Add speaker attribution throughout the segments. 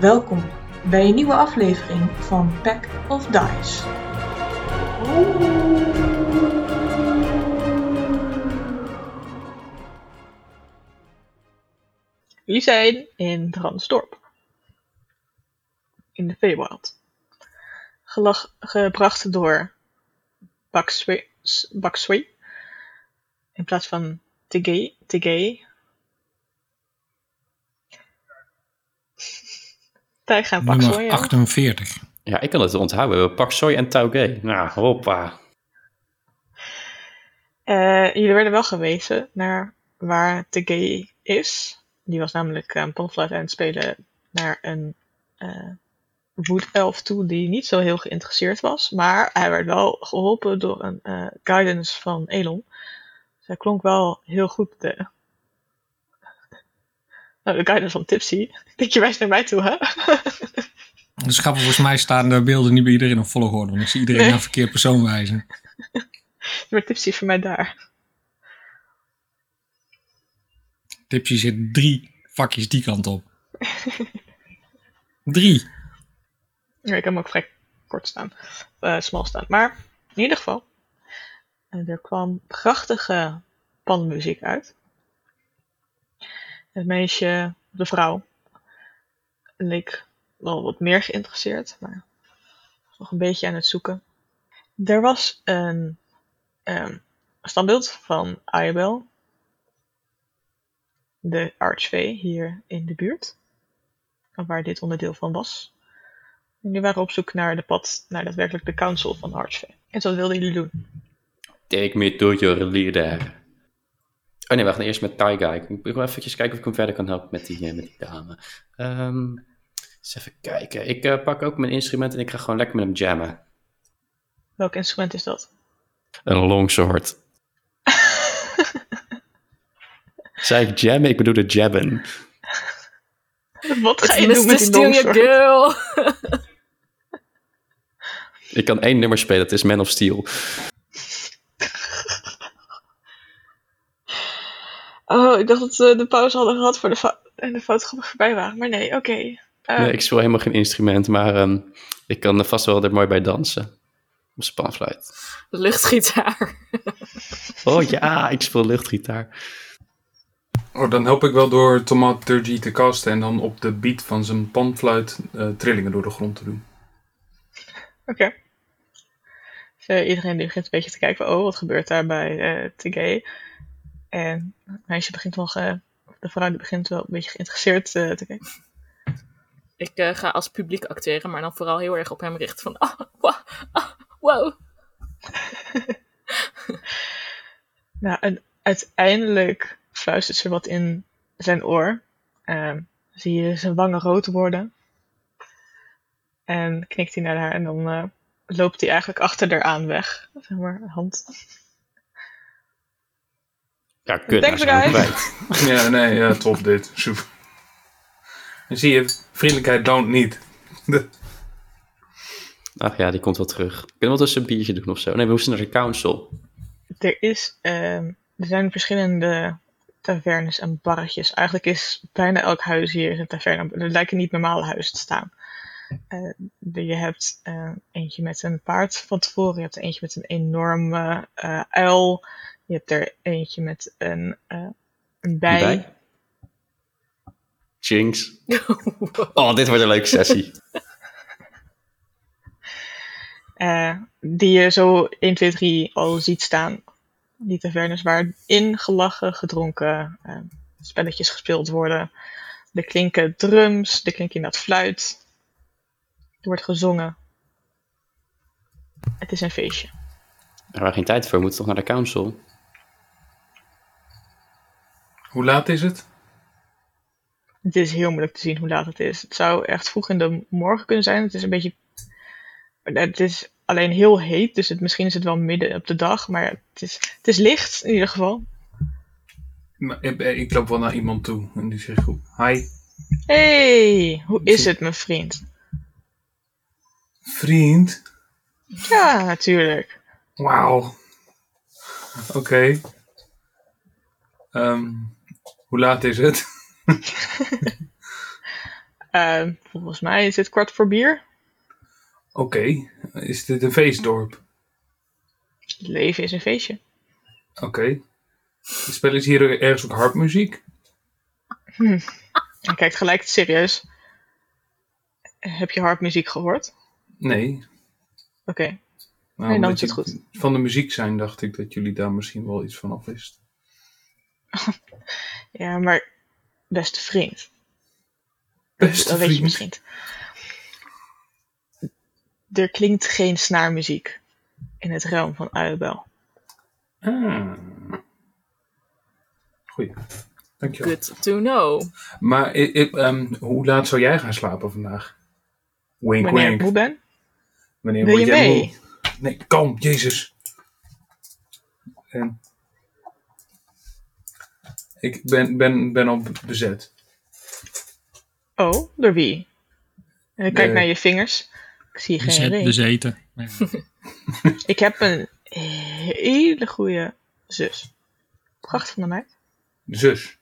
Speaker 1: Welkom bij een nieuwe aflevering van Pack of Dice. We zijn in Dransdorp. In de Feywild. Gelag- gebracht door Bakswe S- Bakswe. In plaats van Tigay. Tigay. Tijga en Bakswe.
Speaker 2: Nummer
Speaker 1: ja.
Speaker 2: 48.
Speaker 3: Ja, ik kan het onthouden. Pak soy en taugé. Nou, hoppa.
Speaker 1: Eh, jullie werden wel gewezen naar waar de gay is. Die was namelijk eh, een panfluit aan het spelen naar een eh woedelf toe die niet zo heel geïnteresseerd was. Maar hij werd wel geholpen door een eh, guidance van Elon. Zij klonk wel heel goed. De, nou, de guidance van Tipsy. Ik denk, je wijst naar mij toe, hè?
Speaker 2: Dat is grappig, Dus volgens mij staan de beelden niet bij iedereen op volgorde, want ik zie iedereen
Speaker 1: Nee.
Speaker 2: naar een verkeerd persoon wijzen.
Speaker 1: maar Tipsy voor mij daar.
Speaker 2: Tipsy zit drie vakjes die kant op. Drie.
Speaker 1: Ja, ik heb hem ook vrij kort staan. eh, smal staan. Maar in ieder geval. eh, er kwam prachtige panmuziek uit. Het meisje, de vrouw, leek wel wat meer geïnteresseerd, maar was nog een beetje aan het zoeken. Er was een ehm, standbeeld van Ayabel, de archvee hier in de buurt, waar dit onderdeel van was. En die waren op zoek naar de pad, naar daadwerkelijk de council van Archvee. En dat wilden jullie doen.
Speaker 3: Take me to your leader. Oh nee, we gaan eerst met Taiga. Ik moet ik wil eventjes kijken of ik hem verder kan helpen met die, eh, met die dame. Ehm, eens even kijken. Ik eh, pak ook mijn instrument en ik ga gewoon lekker met hem jammen.
Speaker 1: Welk instrument is dat?
Speaker 3: Een longsword. Zei ik jammen? Ik bedoel de jabben.
Speaker 1: Wat ga
Speaker 4: It's
Speaker 1: je doen met die
Speaker 4: Mr. Junior
Speaker 1: longsword?
Speaker 4: Girl.
Speaker 3: Ik kan één nummer spelen, dat is Man of Steel.
Speaker 1: Oh, ik dacht dat we de pauze hadden gehad voor de fo- en de fotografen voorbij waren. Maar nee, oké. Eh,
Speaker 3: Nee, ik speel helemaal geen instrument, maar ehm, ik kan er vast wel er mooi bij dansen. Op zijn panfluit.
Speaker 4: De luchtgitaar.
Speaker 3: Oh ja, ik speel luchtgitaar.
Speaker 5: Oh, dan help ik wel door Tomaturgy te casten en dan op de beat van zijn panfluit eh, trillingen door de grond te doen.
Speaker 1: Oké. Dus, eh, iedereen die begint een beetje te kijken van, oh, wat gebeurt daar bij eh Tigay? En het meisje begint nog, eh, de vrouw die begint wel een beetje geïnteresseerd eh, te kijken.
Speaker 4: Ik eh, ga als publiek acteren, maar dan vooral heel erg op hem richten. Van, ah, wa- ah, wow.
Speaker 1: Nou, en uiteindelijk fluistert ze wat in zijn oor. Ehm, zie je zijn wangen rood worden. En knikt hij naar haar en dan eh, loopt hij eigenlijk achter haar aan weg. Zeg maar, hand.
Speaker 3: Ja, kut.
Speaker 1: Thanks,
Speaker 3: nou zijn we
Speaker 1: guys.
Speaker 3: kwijt.
Speaker 5: Ja, nee, ja, top dit. Super. En zie je, vriendelijkheid don't need.
Speaker 3: Ach ja, die komt wel terug. Kunnen we wel tussen een biertje doen of zo? Nee, we moesten naar de council.
Speaker 1: Er, is, ehm, er zijn verschillende tavernes en barretjes. Eigenlijk is bijna elk huis hier een taverne. Er lijken niet normale huizen te staan. Eh, de- je hebt eh, eentje met een paard van tevoren. Je hebt er eentje met een enorme eh, uil. Je hebt er eentje met een, eh, een bij.
Speaker 3: Bij? Jinx. Oh, dit wordt een leuke sessie.
Speaker 1: eh, die je zo 1, 2, 3 al ziet staan. Die tavernes waarin gelachen, gedronken, eh, spelletjes gespeeld worden. Er klinken drums, er klinkt inderdaad fluit. Er wordt gezongen. Het is een feestje.
Speaker 3: Er waren geen tijd voor, we moeten toch naar de council?
Speaker 5: Hoe laat is het?
Speaker 1: Het is heel moeilijk te zien hoe laat het is. Het zou echt vroeg in de morgen kunnen zijn. Het is een beetje. Het is alleen heel heet, dus het, misschien is het wel midden op de dag. Maar het is, het is licht in ieder geval.
Speaker 5: Maar Ik, eh, ik loop wel naar iemand toe en die zegt goed. Hi,
Speaker 1: hey, hoe is het, mijn vriend?
Speaker 5: vriend.
Speaker 1: Ja, natuurlijk.
Speaker 5: Wauw. Oké. Ehm, hoe laat is het?
Speaker 1: Eh, Eh, volgens mij is het kwart voor bier.
Speaker 5: Oké, is dit een feestdorp?
Speaker 1: Het leven is een feestje.
Speaker 5: Oké. Spelen ze hier ergens ook harpmuziek?
Speaker 1: Hij kijkt gelijk serieus. Heb je harpmuziek gehoord?
Speaker 5: Nee.
Speaker 1: Oké.
Speaker 5: Nou,
Speaker 1: Nee, dan
Speaker 5: omdat
Speaker 1: is het
Speaker 5: je Van de muziek zijn dacht ik dat jullie daar misschien wel iets van af wisten.
Speaker 1: Ja, maar beste vriend.
Speaker 5: Beste
Speaker 1: dat weet je
Speaker 5: vriend.
Speaker 1: misschien. Er klinkt geen snaarmuziek in het realm van Uilbel.
Speaker 5: Ah. Goeie. Dankjewel.
Speaker 4: Good to know.
Speaker 5: Maar i- i- ehm, hoe laat zou jij gaan slapen vandaag? Wink,
Speaker 1: Wanneer ik
Speaker 5: wink.
Speaker 1: moe ben?
Speaker 5: Wanneer
Speaker 1: Wil
Speaker 5: word
Speaker 1: je
Speaker 5: jij
Speaker 1: mee?
Speaker 5: moe? Nee, kalm, Jezus. En ik ben, ben, ben al be- bezet.
Speaker 1: Oh, door wie? En ik kijk
Speaker 5: Eh.
Speaker 1: naar je vingers. Ik zie
Speaker 5: dus
Speaker 1: geen ring.
Speaker 2: Bezet, bezeten. Ja.
Speaker 1: Ik heb een hele goede zus. Prachtig van de meid.
Speaker 5: Zus.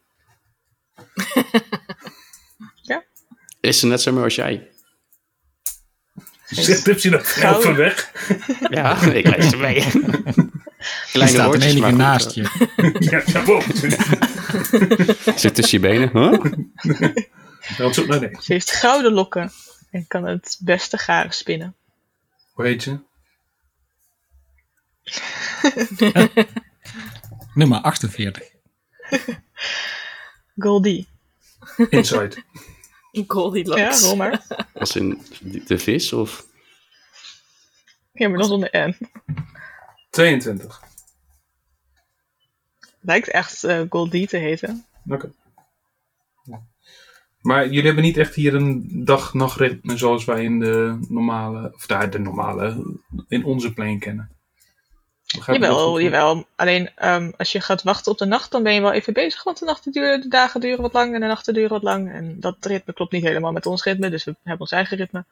Speaker 3: Is ze net zo mooi als jij?
Speaker 5: Zegt heb ze dat snel
Speaker 1: Gouden.
Speaker 5: van weg?
Speaker 3: Ja, ik luister mee.
Speaker 2: Er
Speaker 3: Kleine
Speaker 2: staat een
Speaker 3: woordjes,
Speaker 2: enige
Speaker 3: maar goed, eh.
Speaker 2: naast
Speaker 3: hoor.
Speaker 2: je.
Speaker 5: Ja, daarom.
Speaker 3: Zit tussen je benen. Huh?
Speaker 5: Dat zoek naar nee.
Speaker 1: Ze heeft gouden lokken en kan het beste garen spinnen.
Speaker 5: Hoe heet ze?
Speaker 2: Nummer 48.
Speaker 1: Goldie.
Speaker 5: Inside.
Speaker 4: Goldie
Speaker 1: Ja,
Speaker 4: locks.
Speaker 1: rol maar.
Speaker 3: Als in de vis of...
Speaker 1: Ja, maar dan zonder N.
Speaker 5: 22.
Speaker 1: Lijkt echt eh, Goldie te heten.
Speaker 5: Oké. Ja. Maar jullie hebben niet echt hier een dag-nachtritme zoals wij in de normale, of daar de normale, in onze plane kennen. Begrijp je dat
Speaker 1: Jawel,
Speaker 5: goed?
Speaker 1: jawel. Alleen ehm, als je gaat wachten op de nacht, dan ben je wel even bezig. Want de, nachten duren, de dagen duren wat lang en de nachten duren wat lang. En dat ritme klopt niet helemaal met ons ritme, dus we hebben ons eigen ritme.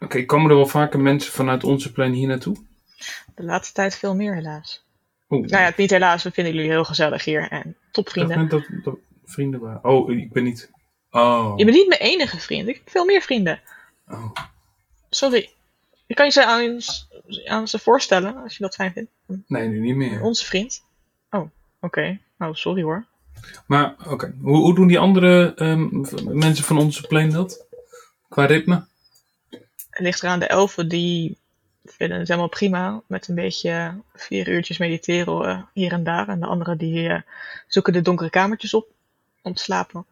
Speaker 5: Oké, komen er wel vaker mensen vanuit onze plane hier naartoe? Oh,
Speaker 1: De laatste tijd veel meer helaas.
Speaker 5: Oeh,
Speaker 1: Nou ja, het niet helaas, we vinden jullie heel gezellig hier en
Speaker 5: ik
Speaker 1: topvrienden.
Speaker 5: dacht net dat, dat vrienden waren. Oh, ik ben niet. Oh.
Speaker 1: Je bent niet mijn enige vriend, ik heb veel meer vrienden.
Speaker 5: oh.
Speaker 1: Sorry. Ik kan je ze aan, aan ze voorstellen, als je dat fijn vindt.
Speaker 5: Nee, nu niet meer.
Speaker 1: Onze vriend. Oh, oké. Nou, sorry hoor.
Speaker 5: Maar oké, hoe, hoe doen die andere ehm, v- mensen van onze plane dat? Qua ritme?
Speaker 1: Het ligt eraan, de elfen die vinden het helemaal prima. Met een beetje vier uurtjes mediteren eh, hier en daar. En de anderen die eh, zoeken de donkere kamertjes op om te slapen.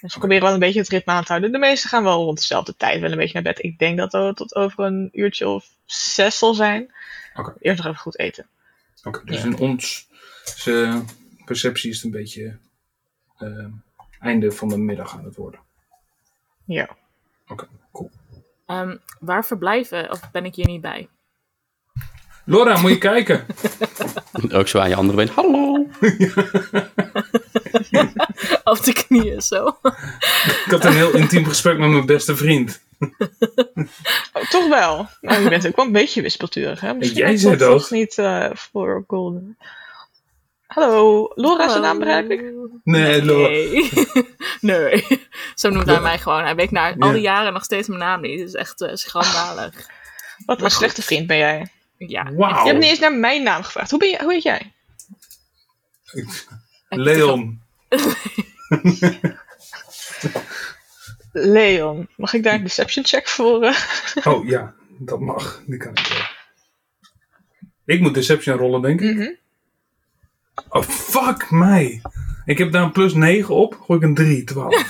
Speaker 1: Dus we proberen wel een beetje het ritme aan te houden. De meesten gaan wel rond dezelfde tijd wel een beetje naar bed. Ik denk dat dat tot over een uurtje of zes zal zijn.
Speaker 5: Oké.
Speaker 1: Eerst nog even goed eten.
Speaker 5: Oké, dus in ons ze- perceptie is het een beetje ehm, einde van de middag aan het worden.
Speaker 1: Ja.
Speaker 5: Oké, cool.
Speaker 4: Ehm, waar verblijven? Of ben ik hier niet bij?
Speaker 5: Laura, moet je kijken.
Speaker 3: Ook zo aan je andere been. Hallo!
Speaker 4: Op de knieën zo.
Speaker 5: Ik had een heel intiem gesprek met mijn beste vriend.
Speaker 1: Oh, toch wel. Nou, je bent ook wel een beetje wispelturig, hè? Misschien
Speaker 5: Jij
Speaker 1: was
Speaker 5: zei dat.
Speaker 1: toch niet eh, voor Golden. Hallo, Laura is de naam begrijp ik.
Speaker 5: Nee, Laura.
Speaker 4: Nee. nee. Zo noemt hij mij gewoon. Hij weet na al die
Speaker 5: Ja.
Speaker 4: jaren nog steeds mijn naam niet. Het is echt eh, schandalig.
Speaker 1: Wat een
Speaker 4: goed.
Speaker 1: slechte vriend ben jij.
Speaker 4: Ja.
Speaker 5: Wauw.
Speaker 1: Je hebt niet eens naar mijn naam gevraagd. Hoe, ben je, hoe heet jij?
Speaker 5: Leon.
Speaker 1: Leon. Mag ik daar een deception check voor? eh?
Speaker 5: Oh ja, dat mag. Die kan ik wel. Ik moet Deception rollen, denk ik.
Speaker 1: Mhm.
Speaker 5: Oh, fuck mij. Ik heb daar een plus 9 op. Gooi ik een 3, 12.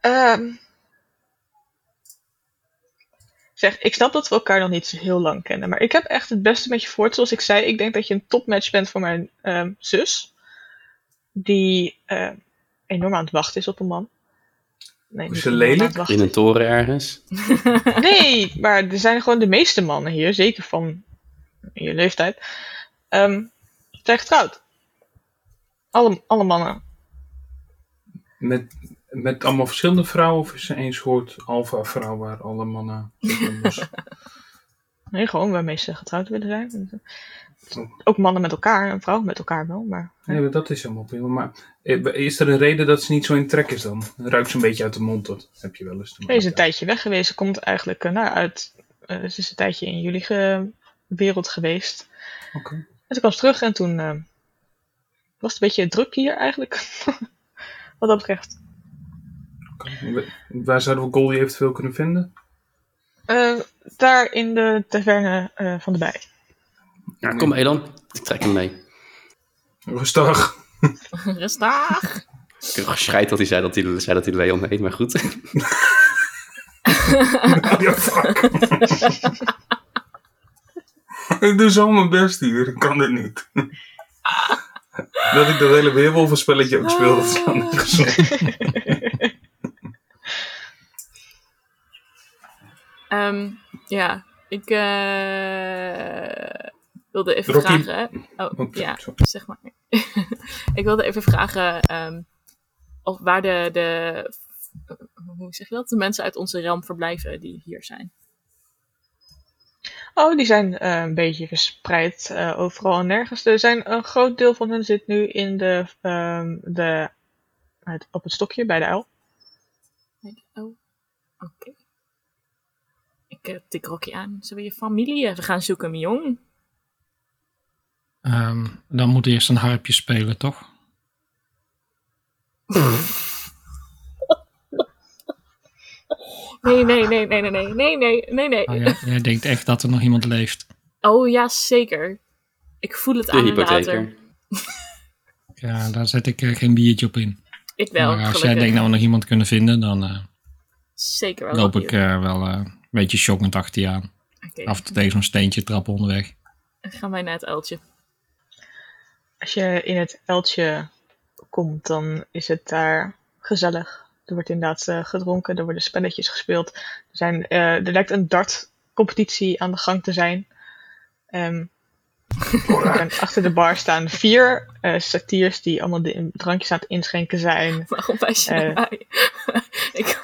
Speaker 1: Ehm. zeg, ik snap dat we elkaar nog niet zo heel lang kennen. Maar ik heb echt het beste met je voort. Zoals ik zei, ik denk dat je een topmatch bent voor mijn ehm, zus. Die eh, enorm aan het wachten is op een man. Nee,
Speaker 5: Is
Speaker 1: niet
Speaker 5: ze
Speaker 1: enorm aan
Speaker 5: lelijk?
Speaker 1: het wachten.
Speaker 3: In een toren ergens.
Speaker 1: Nee, maar er zijn gewoon de meeste mannen hier, zeker van je leeftijd, ehm, zijn getrouwd. Alle, alle mannen.
Speaker 5: Met, met allemaal dus- verschillende vrouwen of is er één soort alfa vrouw waar alle mannen...
Speaker 1: Nee, gewoon waarmee ze getrouwd willen zijn. Ook mannen met elkaar en vrouwen met elkaar wel, maar...
Speaker 5: Nee, maar dat is helemaal prima. Maar eh, is er een reden dat ze niet zo in trek is dan? Ruikt ze een beetje uit de mond, dat heb je wel eens. te
Speaker 1: Ze is een
Speaker 5: maken.
Speaker 1: tijdje weg geweest. Ze komt eigenlijk eh, nou, uit. eh, ze is een tijdje in jullie ge- wereld geweest.
Speaker 5: Oké.
Speaker 1: En toen kwam ze terug en toen eh, was het een beetje druk hier eigenlijk. Wat dat betreft.
Speaker 5: Oké. Wa- Waar zouden we Goldie eventueel kunnen vinden?
Speaker 1: Eh, daar in de taverne eh, van de bij.
Speaker 5: Ja,
Speaker 3: Kom Elon, ik trek hem mee.
Speaker 5: Rustig.
Speaker 4: Rustig.
Speaker 3: Ik heb geschreid dat hij zei dat hij, zei dat hij Leon heet, maar goed.
Speaker 5: ja, fuck. ik doe zo mijn best hier. Ik kan dit niet. dat ik dat hele weerwolvenspelletje ook speel, dat kan nergens op.
Speaker 4: Ehm, ja, ik eh, wilde even
Speaker 5: Rocky.
Speaker 4: vragen. Oh,
Speaker 5: Oké,
Speaker 4: ja,
Speaker 5: sorry.
Speaker 4: zeg maar. ik wilde even vragen ehm, of waar de, de, hoe zeg je dat? de mensen uit onze realm verblijven die hier zijn.
Speaker 1: Oh, die zijn eh, een beetje verspreid eh, overal en nergens. Er zijn een groot deel van hen zit nu in de, ehm, de het- op het stokje bij de uil.
Speaker 4: Oh, oké. Ik eh, tik Rocky aan. Zullen we je familie even gaan zoeken, jong?
Speaker 2: Ehm, dan moet eerst een harpje spelen, toch?
Speaker 4: Nee, nee, nee, nee, nee, nee, nee, nee, nee, nee.
Speaker 2: Oh, jij, jij denkt echt dat er nog iemand leeft.
Speaker 4: Oh ja, zeker. Ik voel het
Speaker 3: De
Speaker 4: aan en later.
Speaker 3: hypotheker.
Speaker 2: Ja, daar zet ik eh, geen biertje op in.
Speaker 4: Ik wel,
Speaker 2: maar als jij
Speaker 4: gelukkig.
Speaker 2: denkt dat we nog iemand kunnen vinden, dan eh,
Speaker 4: Zeker wel.
Speaker 2: loop
Speaker 4: Rocky.
Speaker 2: ik Nou, eh, wel eh, een beetje shockend achter je aan.
Speaker 4: Oké,
Speaker 2: Af en toe tegen zo'n steentje trappen onderweg.
Speaker 4: dan gaan wij naar het uiltje.
Speaker 1: Als je in het Eltje komt, dan is het daar gezellig. Er wordt inderdaad eh, gedronken, er worden spelletjes gespeeld. Er, zijn, eh, er lijkt een dartcompetitie aan de gang te zijn. Ehm, en achter de bar staan vier eh satiers die allemaal de drankjes aan het inschenken zijn.
Speaker 4: Waarom wijs je
Speaker 1: Eh.
Speaker 4: naar mij? ik...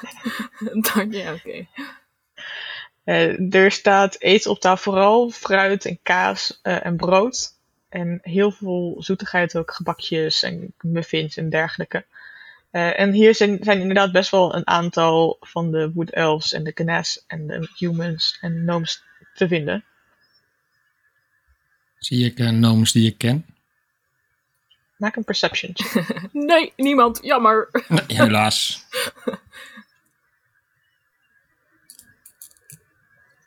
Speaker 4: Dank je, oké.
Speaker 1: Eh, er staat eten op tafel, vooral fruit en kaas eh, en brood. En heel veel zoetigheid ook, gebakjes en muffins en dergelijke. Eh, en hier zijn, zijn inderdaad best wel een aantal van de Wood Elves en de Gnas en de Humans en Gnomes te vinden.
Speaker 2: Zie ik eh gnomes die ik ken?
Speaker 1: Maak een perception check.
Speaker 4: Nee, niemand. Jammer.
Speaker 2: Nee, helaas.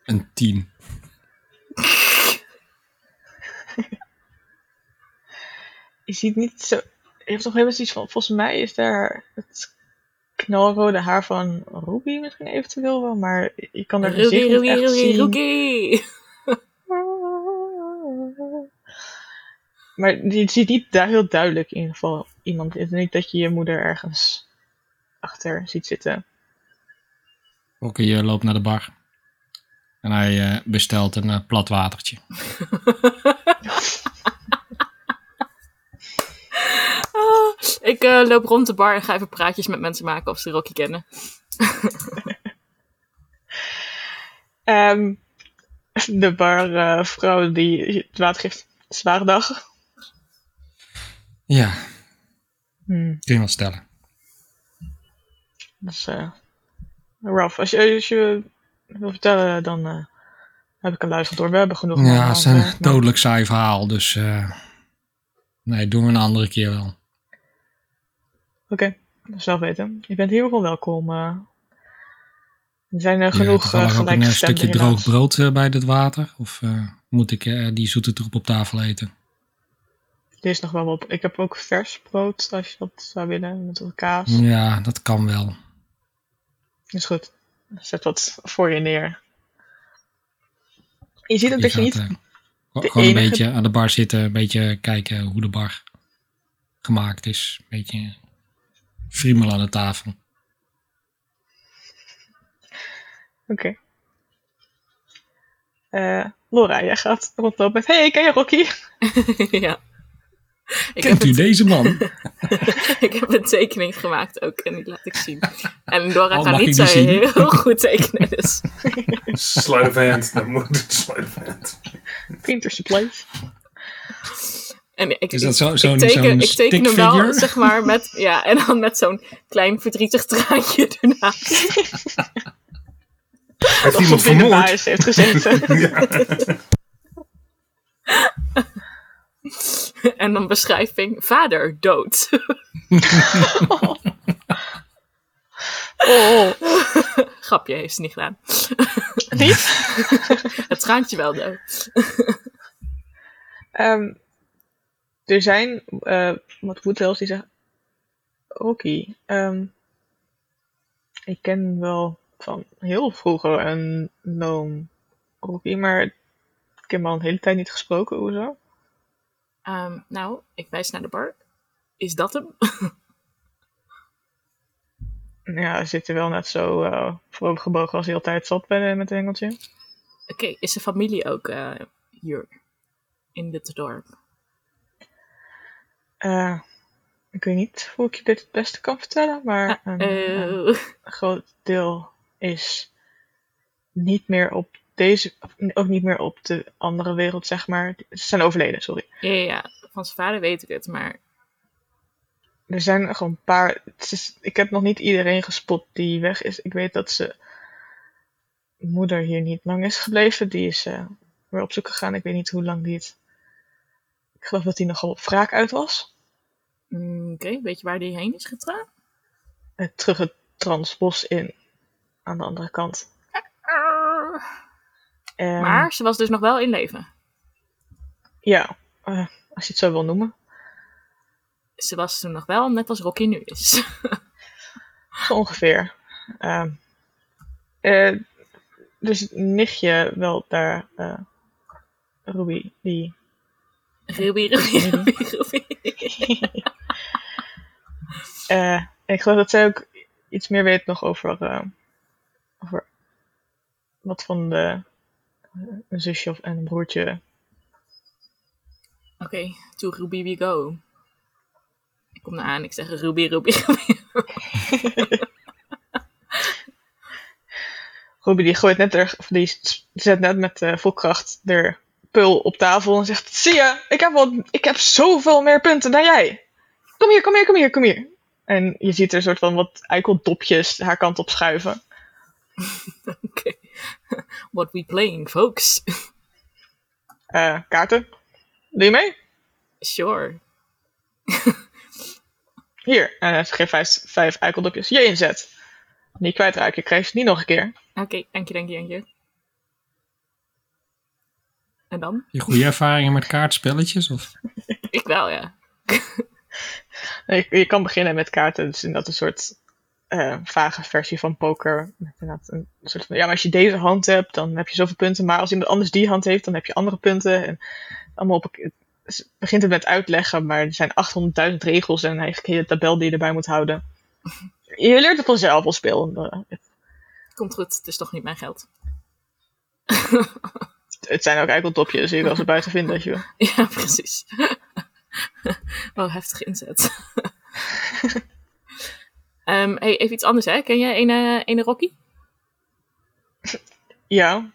Speaker 2: Een tien.
Speaker 1: Je ziet niet zo... Je hebt nog helemaal iets van... Volgens mij is daar het knalrode haar van Ruby misschien eventueel wel. Maar je kan er
Speaker 4: Ruby,
Speaker 1: gezicht niet
Speaker 4: Ruby,
Speaker 1: echt
Speaker 4: Ruby,
Speaker 1: zien.
Speaker 4: Ruby.
Speaker 1: Maar je ziet niet du- heel duidelijk in ieder geval iemand. Het is niet dat je je moeder ergens achter ziet zitten.
Speaker 2: Oké, je eh, loopt naar de bar. En hij eh, bestelt een eh, plat watertje.
Speaker 4: Ah, ik eh, loop rond de bar en ga even praatjes met mensen maken of ze Rocky kennen.
Speaker 1: Ehm, de barvrouw die het water geeft. Zware dag.
Speaker 2: Ja,
Speaker 1: Hm,
Speaker 2: kun je wel stellen.
Speaker 1: dat is eh, rough. Als je, als je wil vertellen, dan eh, heb ik een luister door. We hebben genoeg.
Speaker 2: Ja,
Speaker 1: aan
Speaker 2: het
Speaker 1: de
Speaker 2: is een
Speaker 1: hand, eh, maar-
Speaker 2: dodelijk saai verhaal, dus... eh, nee, doen we een andere keer wel.
Speaker 1: Oké, zelf weten. Je bent in ieder geval welkom. eh. er zijn er
Speaker 2: Ja,
Speaker 1: genoeg
Speaker 2: toevallig
Speaker 1: eh
Speaker 2: ook een eh, stukje
Speaker 1: gelijkgestemden
Speaker 2: droog
Speaker 1: helaas.
Speaker 2: brood eh, bij dit water? Of eh, moet ik eh, die zoete troep op tafel eten?
Speaker 1: Er is nog wel wat. Ik heb ook vers brood, als je dat zou willen, met wat kaas.
Speaker 5: Mm.
Speaker 2: Ja, dat kan wel.
Speaker 1: Is goed. Zet wat voor je neer. Je ziet ook dat je
Speaker 2: gaat,
Speaker 1: niet...
Speaker 2: eh, gew-
Speaker 1: enige-
Speaker 2: gewoon een beetje aan de bar zitten, een beetje kijken hoe de bar gemaakt is. Een beetje friemel aan de tafel.
Speaker 1: Oké. Eh, Laura, jij gaat rondlopen met... Hey, ken je Rocky?
Speaker 4: ja. Ik heb
Speaker 2: Kent u
Speaker 4: het-
Speaker 2: deze man?
Speaker 4: ik heb een tekening gemaakt ook en die laat ik zien. En Dora
Speaker 2: Oh,
Speaker 4: kan
Speaker 2: mag
Speaker 4: niet
Speaker 2: ik
Speaker 4: zo
Speaker 2: die zien?
Speaker 4: heel goed tekenen, dus
Speaker 5: Slide of hand. Dan moet het slide of hand.
Speaker 1: Painter's place.
Speaker 4: En ik,
Speaker 2: Is dat
Speaker 4: ik-
Speaker 2: zo- zo'n-
Speaker 4: ik teken,
Speaker 2: zo'n
Speaker 4: ik teken hem wel,
Speaker 2: stickfigure?
Speaker 4: zeg maar, met, ja, en dan met zo'n klein verdrietig traantje ernaast.
Speaker 5: Heeft
Speaker 1: Als
Speaker 5: iemand
Speaker 1: ze binnen
Speaker 5: vermoord?
Speaker 1: huis heeft gezeten.
Speaker 4: En dan beschrijving, vader dood.
Speaker 1: Oh,
Speaker 4: Grapje, heeft ze niet gedaan.
Speaker 1: niet?
Speaker 4: Het traantje wel dood.
Speaker 1: Ehm, er zijn eh, wat woodhells die zeggen... Oké, ehm, ik ken wel van heel vroeger een noom Rocky, maar ik heb hem al een hele tijd niet gesproken, hoezo?
Speaker 4: Ehm, nou, ik wijs naar de bar. Is dat hem?
Speaker 1: Ja, hij zit er wel net zo eh voorover gebogen als hij altijd zat bij de, met het engeltje.
Speaker 4: Oké, is de familie ook eh, hier in dit dorp?
Speaker 1: Eh, ik weet niet hoe ik je dit het beste kan vertellen, maar ehm, een, een
Speaker 4: Eh,
Speaker 1: groot deel is niet meer op deze, ook niet meer op de andere wereld, zeg maar. Ze zijn overleden, sorry.
Speaker 4: ja, ja, ja, van zijn vader weet ik het, maar
Speaker 1: Er zijn er gewoon een paar. het is- ik heb nog niet iedereen gespot die weg is. Ik weet dat ze moeder hier niet lang is gebleven. Die is eh, weer op zoek gegaan. Ik weet niet hoe lang die het. Ik geloof dat die nogal op wraak uit was.
Speaker 4: mm, oké, weet je waar die heen is getraan?
Speaker 1: Eh, terug het transbos in. Aan de andere kant.
Speaker 4: Ah.
Speaker 1: En-
Speaker 4: Maar ze was dus nog wel in leven.
Speaker 1: Ja, eh, als je het zo wil noemen.
Speaker 4: Ze was toen nog wel, net als Rocky nu is.
Speaker 1: Zo ongeveer. Ehm, eh, dus het nichtje wel daar. eh, Ruby, die
Speaker 4: Ruby, Ruby, Ruby, Ruby.
Speaker 1: Eh, ik geloof dat zij ook iets meer weet nog over, eh, over wat van de, eh, een zusje of en een broertje.
Speaker 4: Oké, to Ruby we go. Ik kom naar aan, ik zeg Ruby, Ruby, Ruby.
Speaker 1: Ruby die gooit net er, of die s- zet net met eh, vol kracht de pul op tafel en zegt: Zie je, ik heb, wel, ik heb zoveel meer punten dan jij. Kom hier, kom hier, kom hier, kom hier. En je ziet er een soort van wat eikeldopjes haar kant op schuiven.
Speaker 4: Oké. What we playing, folks?
Speaker 1: Eh, kaarten. Doe je mee?
Speaker 4: Sure.
Speaker 1: Hier. En ze geeft vijf, vijf eikeldopjes. Je inzet. Niet kwijtraken, krijg je het niet nog een keer.
Speaker 4: Oké, dank je, dank je, dank je. En dan?
Speaker 2: Je goede ervaringen met kaartspelletjes? Of?
Speaker 4: Ik wel, ja.
Speaker 1: Je, je kan beginnen met kaarten, dus inderdaad een soort eh, vage versie van poker. Met inderdaad een soort van, ja, maar als je deze hand hebt, dan heb je zoveel punten. Maar als iemand anders die hand heeft, dan heb je andere punten. En allemaal op, een- het begint het met uitleggen, maar er zijn 800.000 regels en eigenlijk een hele tabel die je erbij moet houden. Je leert het vanzelf al spelen.
Speaker 4: Komt goed, het is toch niet mijn geld.
Speaker 1: Het zijn ook eikeltopjes, dus je kan ze buiten vinden. Joh.
Speaker 4: Ja, precies. Wel heftig inzet. Ehm, hey, even iets anders, hè? Ken jij een, eh, een Rocky?
Speaker 1: Ja,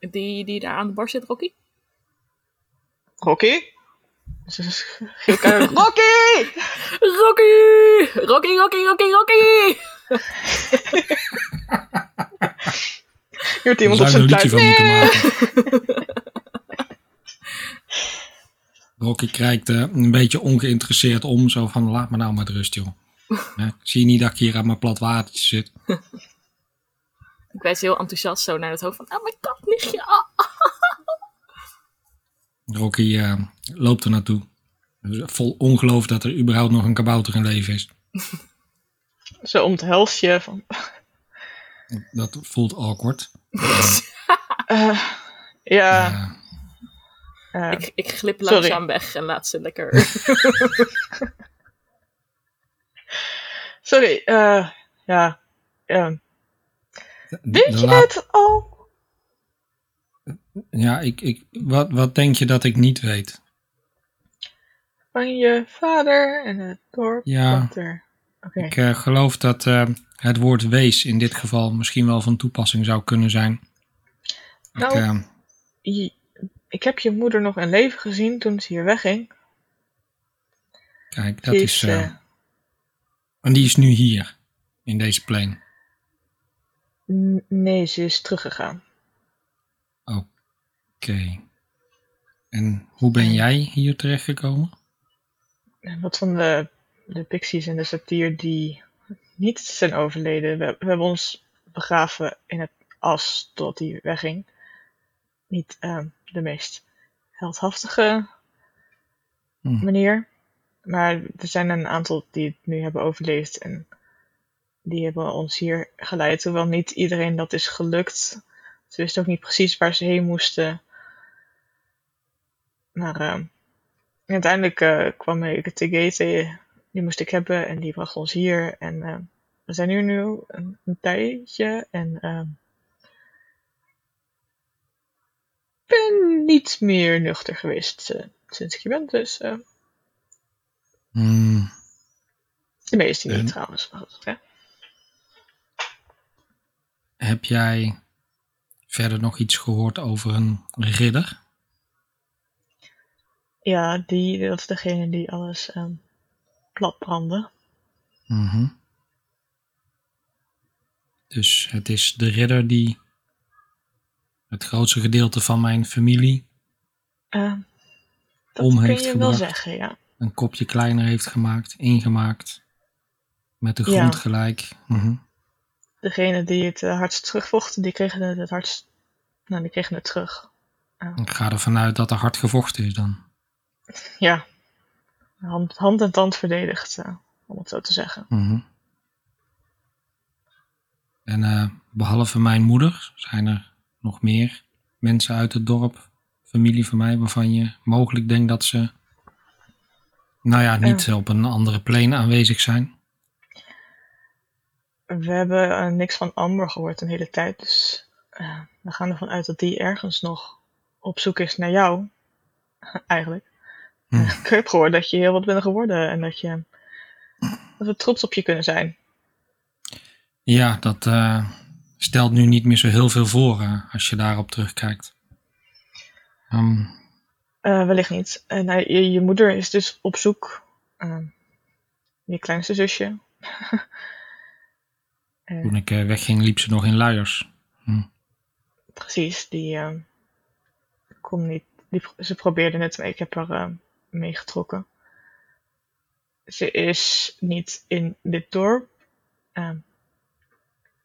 Speaker 4: Die, die daar aan de bar zit, Rocky?
Speaker 1: Rocky? Ze is geel keihard, Rocky!
Speaker 4: Rocky! Rocky, Rocky, Rocky, Rocky!
Speaker 1: Je hoort
Speaker 2: Daar
Speaker 1: iemand op
Speaker 2: zou je
Speaker 1: zijn
Speaker 2: een liedje
Speaker 1: tuin.
Speaker 2: van moeten maken. Rocky kijkt eh, een beetje ongeïnteresseerd om. Zo van, laat me nou met rust, joh. Hè, zie je niet dat ik hier aan mijn plat watertje zit?
Speaker 4: Ik wijs heel enthousiast zo naar het hoofd van... Oh, mijn katnichtje! ah.
Speaker 2: Rocky eh, loopt er naartoe. Dus Vol ongeloof dat er überhaupt nog een kabouter in leven is.
Speaker 1: Ze omhelst je van,
Speaker 2: Dat voelt awkward.
Speaker 1: eh, ja,
Speaker 2: Eh,
Speaker 1: eh,
Speaker 4: Ik, ik glip
Speaker 1: Sorry.
Speaker 4: langzaam weg en laat ze lekker...
Speaker 1: sorry, eh, ja, ehm,
Speaker 2: de-
Speaker 1: weet
Speaker 2: de
Speaker 1: je
Speaker 2: laat-
Speaker 1: het al?
Speaker 2: Ja, ik, ik, wat, wat denk je dat ik niet weet?
Speaker 1: van je vader en het dorp
Speaker 2: Ja.
Speaker 1: dat er. Oké,
Speaker 2: Ik eh, geloof dat eh, het woord wees in dit geval misschien wel van toepassing zou kunnen zijn.
Speaker 1: Nou.
Speaker 2: Ik, eh,
Speaker 1: je- ik heb je moeder nog in leven gezien toen ze hier wegging.
Speaker 2: kijk,
Speaker 1: Ze
Speaker 2: dat is. eh,
Speaker 1: eh,
Speaker 2: en die is nu hier, in deze plane.
Speaker 1: n- nee, ze is teruggegaan.
Speaker 2: Oké. En hoe ben jij hier terechtgekomen?
Speaker 1: En Wat van de, de pixies en de satyr die niet zijn overleden. We, we hebben ons begraven in het as tot die wegging. Niet ehm, de meest heldhaftige
Speaker 2: Hm.
Speaker 1: manier. Maar er zijn een aantal die het nu hebben overleefd en die hebben ons hier geleid. Hoewel niet iedereen dat is gelukt. Ze wisten ook niet precies waar ze heen moesten. Maar ehm, uiteindelijk eh, kwam ik het TG tegen. Die moest ik hebben en die bracht ons hier. En ehm, we zijn hier nu een, een tijdje. En ehm, ik ben niet meer nuchter geweest eh, sinds ik hier ben. Dus ehm,
Speaker 2: Hmm,
Speaker 1: De meeste niet
Speaker 2: En-
Speaker 1: trouwens, maar goed. Hè?
Speaker 2: heb jij verder nog iets gehoord over een ridder?
Speaker 1: Ja, die, dat is degene die alles ehm plat brandde.
Speaker 2: Mhm. Dus het is de ridder die het grootste gedeelte van mijn familie
Speaker 1: Ehm, dat
Speaker 2: Om
Speaker 1: kun je
Speaker 2: heeft
Speaker 1: wel
Speaker 2: gebracht.
Speaker 1: zeggen, ja.
Speaker 2: een kopje kleiner heeft gemaakt, ingemaakt, met de
Speaker 1: Ja.
Speaker 2: grond gelijk. Mhm.
Speaker 1: Degene die het eh, hardst terugvochten, die kregen het, het hardst... Nou, die kregen het terug.
Speaker 2: Ik ga ervan uit dat er hard gevochten is dan.
Speaker 1: Ja. Hand, hand en tand verdedigd, eh, om het zo te zeggen.
Speaker 2: Mhm. En eh, behalve mijn moeder zijn er nog meer mensen uit het dorp, familie van mij, waarvan je mogelijk denkt dat ze, nou ja, niet op een andere plane aanwezig zijn.
Speaker 1: We hebben eh, niks van Amber gehoord een hele tijd, dus... eh, we gaan ervan uit dat die ergens nog op zoek is naar jou. Eigenlijk. Eh,
Speaker 2: Hm.
Speaker 1: Ik heb gehoord dat je heel wat bent geworden en dat, je, dat we trots op je kunnen zijn.
Speaker 2: Ja, dat eh, stelt nu niet meer zo heel veel voor eh, als je daarop terugkijkt. Ehm,
Speaker 1: Eh, wellicht niet. En hij- je, je moeder is dus op zoek. ehm, je kleinste zusje. Eh,
Speaker 2: toen ik eh, wegging liep ze nog in luiers.
Speaker 1: precies, die ehm, kon niet. Die, pro- ze probeerde het, maar ik heb haar ehm, meegetrokken. Ze is niet in dit dorp. Ehm,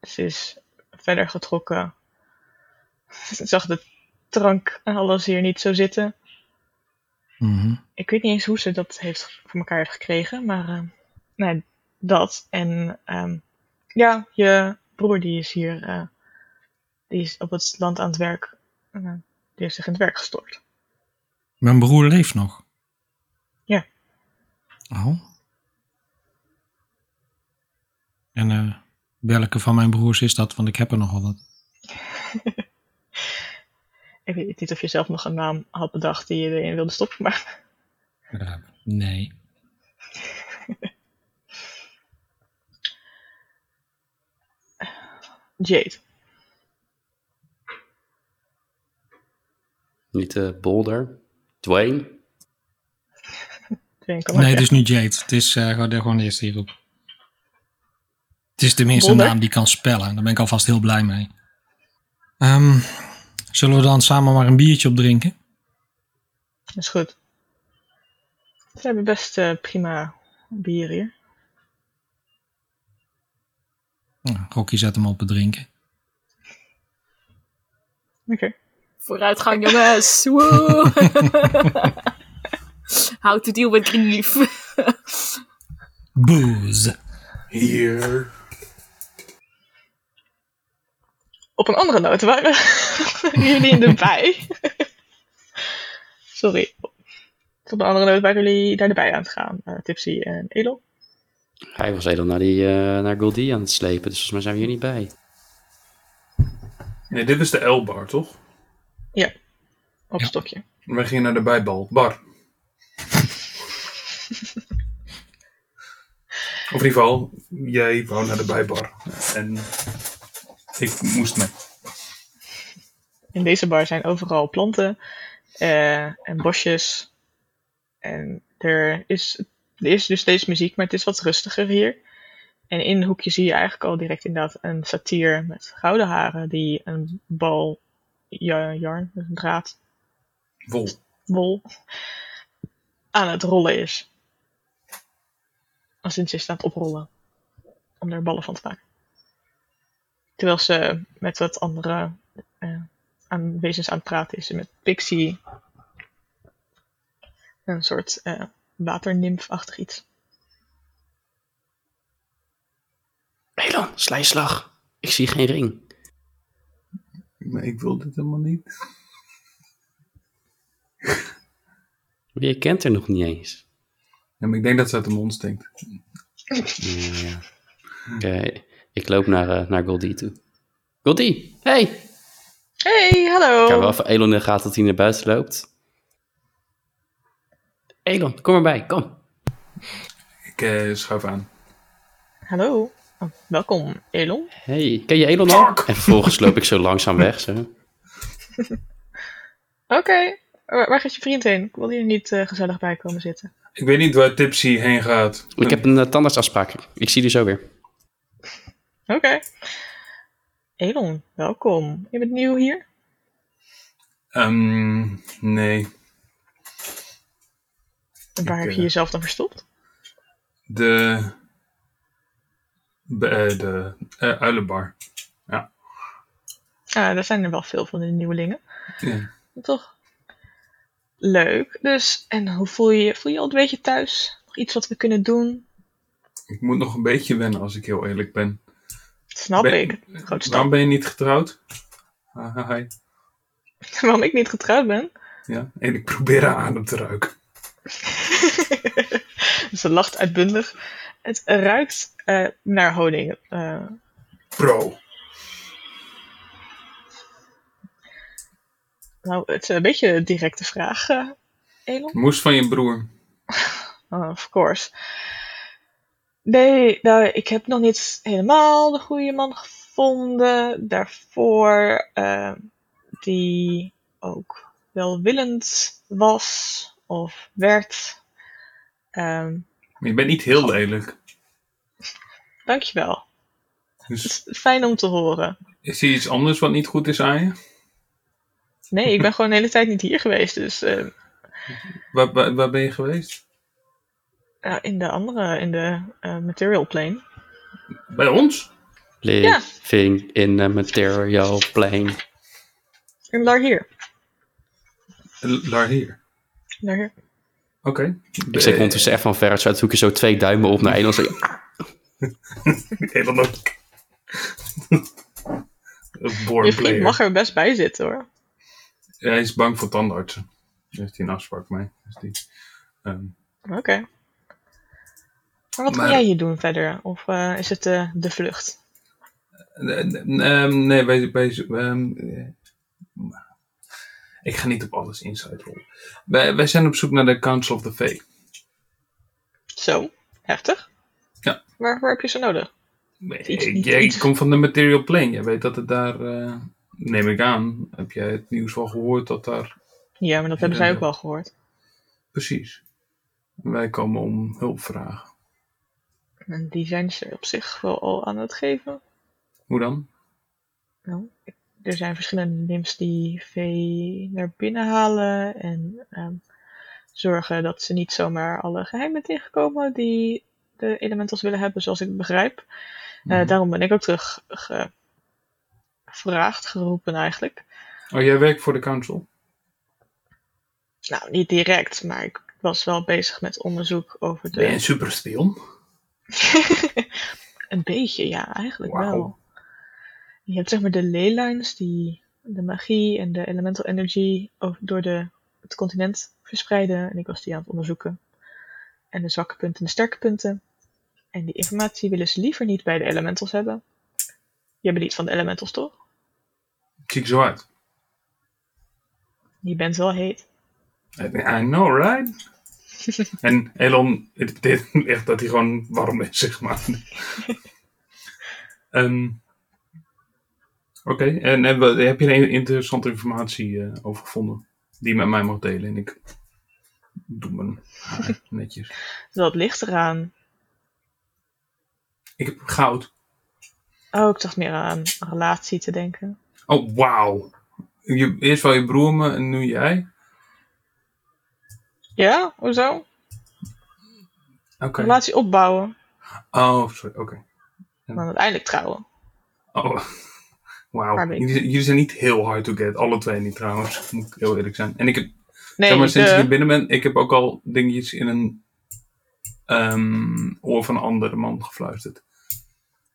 Speaker 1: ze is verder getrokken. Ze zag de drank en alles hier niet zo zitten.
Speaker 2: Mhm.
Speaker 1: Ik weet niet eens hoe ze dat heeft voor elkaar heeft gekregen, maar eh, nee, dat. En ehm, ja, je broer die is hier, eh, die is op het land aan het werk. eh, die heeft zich in het werk gestort.
Speaker 2: Mijn broer leeft nog.
Speaker 1: Ja.
Speaker 2: Oh. En eh, welke van mijn broers is dat? Want ik heb er nogal wat.
Speaker 1: Ik weet niet of je zelf nog een naam had bedacht die je erin wilde stoppen, maar
Speaker 2: Nee.
Speaker 1: Jade.
Speaker 3: Niet eh, Boulder? Dwayne?
Speaker 1: Dwayne kan ook, ja.
Speaker 2: Nee, dus- het is nu Jade. Het is eh, gewoon de gewoon de eerste hierop. Het is tenminste een
Speaker 1: Bonne.
Speaker 2: naam die kan spellen. Daar ben ik alvast heel blij mee. Ehm, zullen we dan samen maar een biertje opdrinken?
Speaker 1: Dat is goed. Ze hebben best eh, prima bier hier.
Speaker 2: Nou, Rocky zet hem op het drinken.
Speaker 1: Oké.
Speaker 4: Vooruitgang, jongens! Woe! How to deal with grief.
Speaker 2: Booze.
Speaker 5: Hier.
Speaker 1: Op een andere noot waren jullie in de bij. Sorry. Op een andere noot waren jullie naar de bij aan het gaan. eh, Tipsy en Elon.
Speaker 3: Hij was helemaal naar, die, eh, naar Goldie aan het slepen, dus volgens mij zijn we hier niet bij.
Speaker 5: Nee, dit is de L-bar, toch?
Speaker 1: Op
Speaker 2: Ja.
Speaker 1: stokje.
Speaker 5: We gingen naar de bijbal. Bar. Of in ieder geval, jij wou naar de bijbar. En ik moest mee.
Speaker 1: In deze bar zijn overal planten eh, en bosjes. En er is, er is dus steeds muziek, maar het is wat rustiger hier. En in een hoekje zie je eigenlijk al direct inderdaad een satier met gouden haren die een bal ja- yarn, dus een draad,
Speaker 5: Wol.
Speaker 1: wol, aan het rollen is. Als in ze is aan het oprollen. Om er ballen van te maken. Terwijl ze met wat andere eh, aan wezens aan het praten is. Met Pixie. Een soort eh waternimfachtig iets.
Speaker 3: Elan, slijslag. Ik zie geen ring.
Speaker 5: Maar ik wil dit helemaal niet.
Speaker 3: Maar Je kent er nog niet eens.
Speaker 5: Ja, maar ik denk dat ze uit de mond stinkt.
Speaker 3: Ja. Oké, ik loop naar, eh, naar Goldie toe. Goldie, hey! Ik
Speaker 1: Hey, hallo!
Speaker 3: ga wel even Elon in de gaten dat hij naar buiten loopt. Elon, kom erbij, kom.
Speaker 5: Ik eh, schuif aan.
Speaker 1: Hallo. Oh, welkom, Elon.
Speaker 3: Hey, ken je Elon al?
Speaker 5: Fuck.
Speaker 3: En vervolgens loop ik zo langzaam weg. Zo.
Speaker 1: Oké, waar, waar gaat je vriend heen? Ik wil hier niet eh, gezellig bij komen zitten.
Speaker 5: Ik weet niet waar Tipsy heen gaat.
Speaker 3: Ik heb een eh, tandartsafspraak. Ik zie die zo weer.
Speaker 1: Oké. Elon, welkom. Je bent nieuw hier?
Speaker 5: Ehm, nee.
Speaker 1: En waar
Speaker 5: Ik,
Speaker 1: heb je
Speaker 5: eh,
Speaker 1: jezelf dan verstopt?
Speaker 5: De. Be- eh, de eh, uilenbar.
Speaker 1: Ah, er zijn er wel veel van de nieuwelingen.
Speaker 5: Ja.
Speaker 1: Toch? Leuk. Dus, en hoe voel je je? Voel je je al een beetje thuis? Nog iets wat we kunnen doen?
Speaker 5: Ik moet nog een beetje wennen als ik heel eerlijk ben.
Speaker 1: Dat snap
Speaker 5: Ben-
Speaker 1: ik. Grote stap.
Speaker 5: Waarom ben je niet getrouwd? Ah, hi.
Speaker 1: Waarom ik niet getrouwd ben?
Speaker 5: Ja, en ik probeer haar adem te ruiken.
Speaker 1: Ze Dus lacht uitbundig. Het ruikt eh, naar honing. Eh,
Speaker 5: Pro.
Speaker 1: nou, het is een beetje een directe vraag, eh, Elon.
Speaker 5: Moest van je broer.
Speaker 1: Oh, of course. Nee, nou, ik heb nog niet helemaal de goede man gevonden. Daarvoor eh, die ook welwillend was of werd. Ehm
Speaker 5: Maar je bent niet heel lelijk.
Speaker 1: dankjewel. Het
Speaker 5: Dus
Speaker 1: is fijn om te horen.
Speaker 5: is er iets anders wat niet goed is aan je?
Speaker 1: Nee, ik ben gewoon de hele tijd niet hier geweest. Dus eh,
Speaker 5: Waar, waar, waar ben je geweest?
Speaker 1: nou, in de andere, in de eh, material plane.
Speaker 5: Bij ons?
Speaker 3: Living in a material plane.
Speaker 1: In Lar hier.
Speaker 5: L- Daar hier.
Speaker 1: Lar hier.
Speaker 5: Oké.
Speaker 3: Ik zeg ondertussen echt van ver uit zoek ik zo twee duimen op naar Elon. Zo,
Speaker 5: Helemaal ook. Een Born
Speaker 1: Je vriend
Speaker 5: player.
Speaker 1: mag er best bij zitten hoor.
Speaker 5: Hij is bang voor tandartsen. Daar heeft hij een afspraak mee. Dus die, ehm,
Speaker 1: Oké. Maar wat
Speaker 5: Maar-
Speaker 1: ga jij hier doen verder? Of eh, is het eh, de vlucht?
Speaker 5: n- n- ehm, nee, wij... wij ehm, eh, ik ga niet op alles inside rollen. Wij, wij zijn op zoek naar de Council of the Fae.
Speaker 1: Zo, heftig.
Speaker 5: Ja.
Speaker 1: Waarvoor heb je ze nodig? Iets-
Speaker 5: Ik,
Speaker 1: iets-
Speaker 5: jij
Speaker 1: iets-
Speaker 5: komt van de Material Plane. Jij weet dat het daar... eh, neem ik aan. Heb jij het nieuws wel gehoord dat daar...
Speaker 1: Ja, maar dat hebben
Speaker 5: Ja,
Speaker 1: zij
Speaker 5: ja.
Speaker 1: ook wel gehoord.
Speaker 5: Precies. Wij komen om hulp vragen.
Speaker 1: En die zijn ze op zich wel al aan het geven.
Speaker 5: Hoe dan?
Speaker 1: Nou, ik- er zijn verschillende NIMS die vee naar binnen halen en ehm, zorgen dat ze niet zomaar alle geheimen tegenkomen die de elementals willen hebben, zoals ik begrijp. Eh,
Speaker 5: Mhm.
Speaker 1: Daarom ben ik ook terug ge- gevraagd, geroepen eigenlijk.
Speaker 5: Oh, jij werkt voor de Council?
Speaker 1: Nou, niet direct, maar ik was wel bezig met onderzoek over de.
Speaker 5: Ben je een superspion?
Speaker 1: een beetje, ja, eigenlijk
Speaker 5: Wauw.
Speaker 1: wel. Je hebt zeg maar de leylines die de magie en de elemental energy over- door de, het continent verspreiden. En ik was die aan het onderzoeken. En de zwakke punten en de sterke punten. En die informatie willen ze liever niet bij de elementals hebben. Je bent niet van de elementals, toch?
Speaker 5: Zie ik zo uit.
Speaker 1: Je bent wel heet.
Speaker 5: I know, right? En Elon, het betekent echt dat hij gewoon warm is, zeg maar. Ehm, Oké, en heb, heb je er interessante informatie eh, over gevonden? Die je met mij mag delen. En ik doe mijn haar netjes.
Speaker 1: Dus Dat ligt eraan.
Speaker 5: Ik heb goud.
Speaker 1: Oh, ik dacht meer aan een relatie te denken.
Speaker 5: Oh, wauw. Je- Eerst wel je broer me en nu jij.
Speaker 1: Ja, hoezo?
Speaker 5: Oké.
Speaker 1: Relatie opbouwen,
Speaker 5: Oh, sorry. Oké.
Speaker 1: en dan uiteindelijk trouwen.
Speaker 5: Oh, wauw.
Speaker 1: Waar ben ik?
Speaker 5: Jullie, jullie zijn niet heel hard to get. Alle twee niet trouwens, moet ik heel eerlijk zijn. En ik heb,
Speaker 1: Nee,
Speaker 5: zeg maar, sinds ik
Speaker 1: de-
Speaker 5: hier binnen ben, ik heb ook al dingetjes in een ehm, oor van een andere man gefluisterd.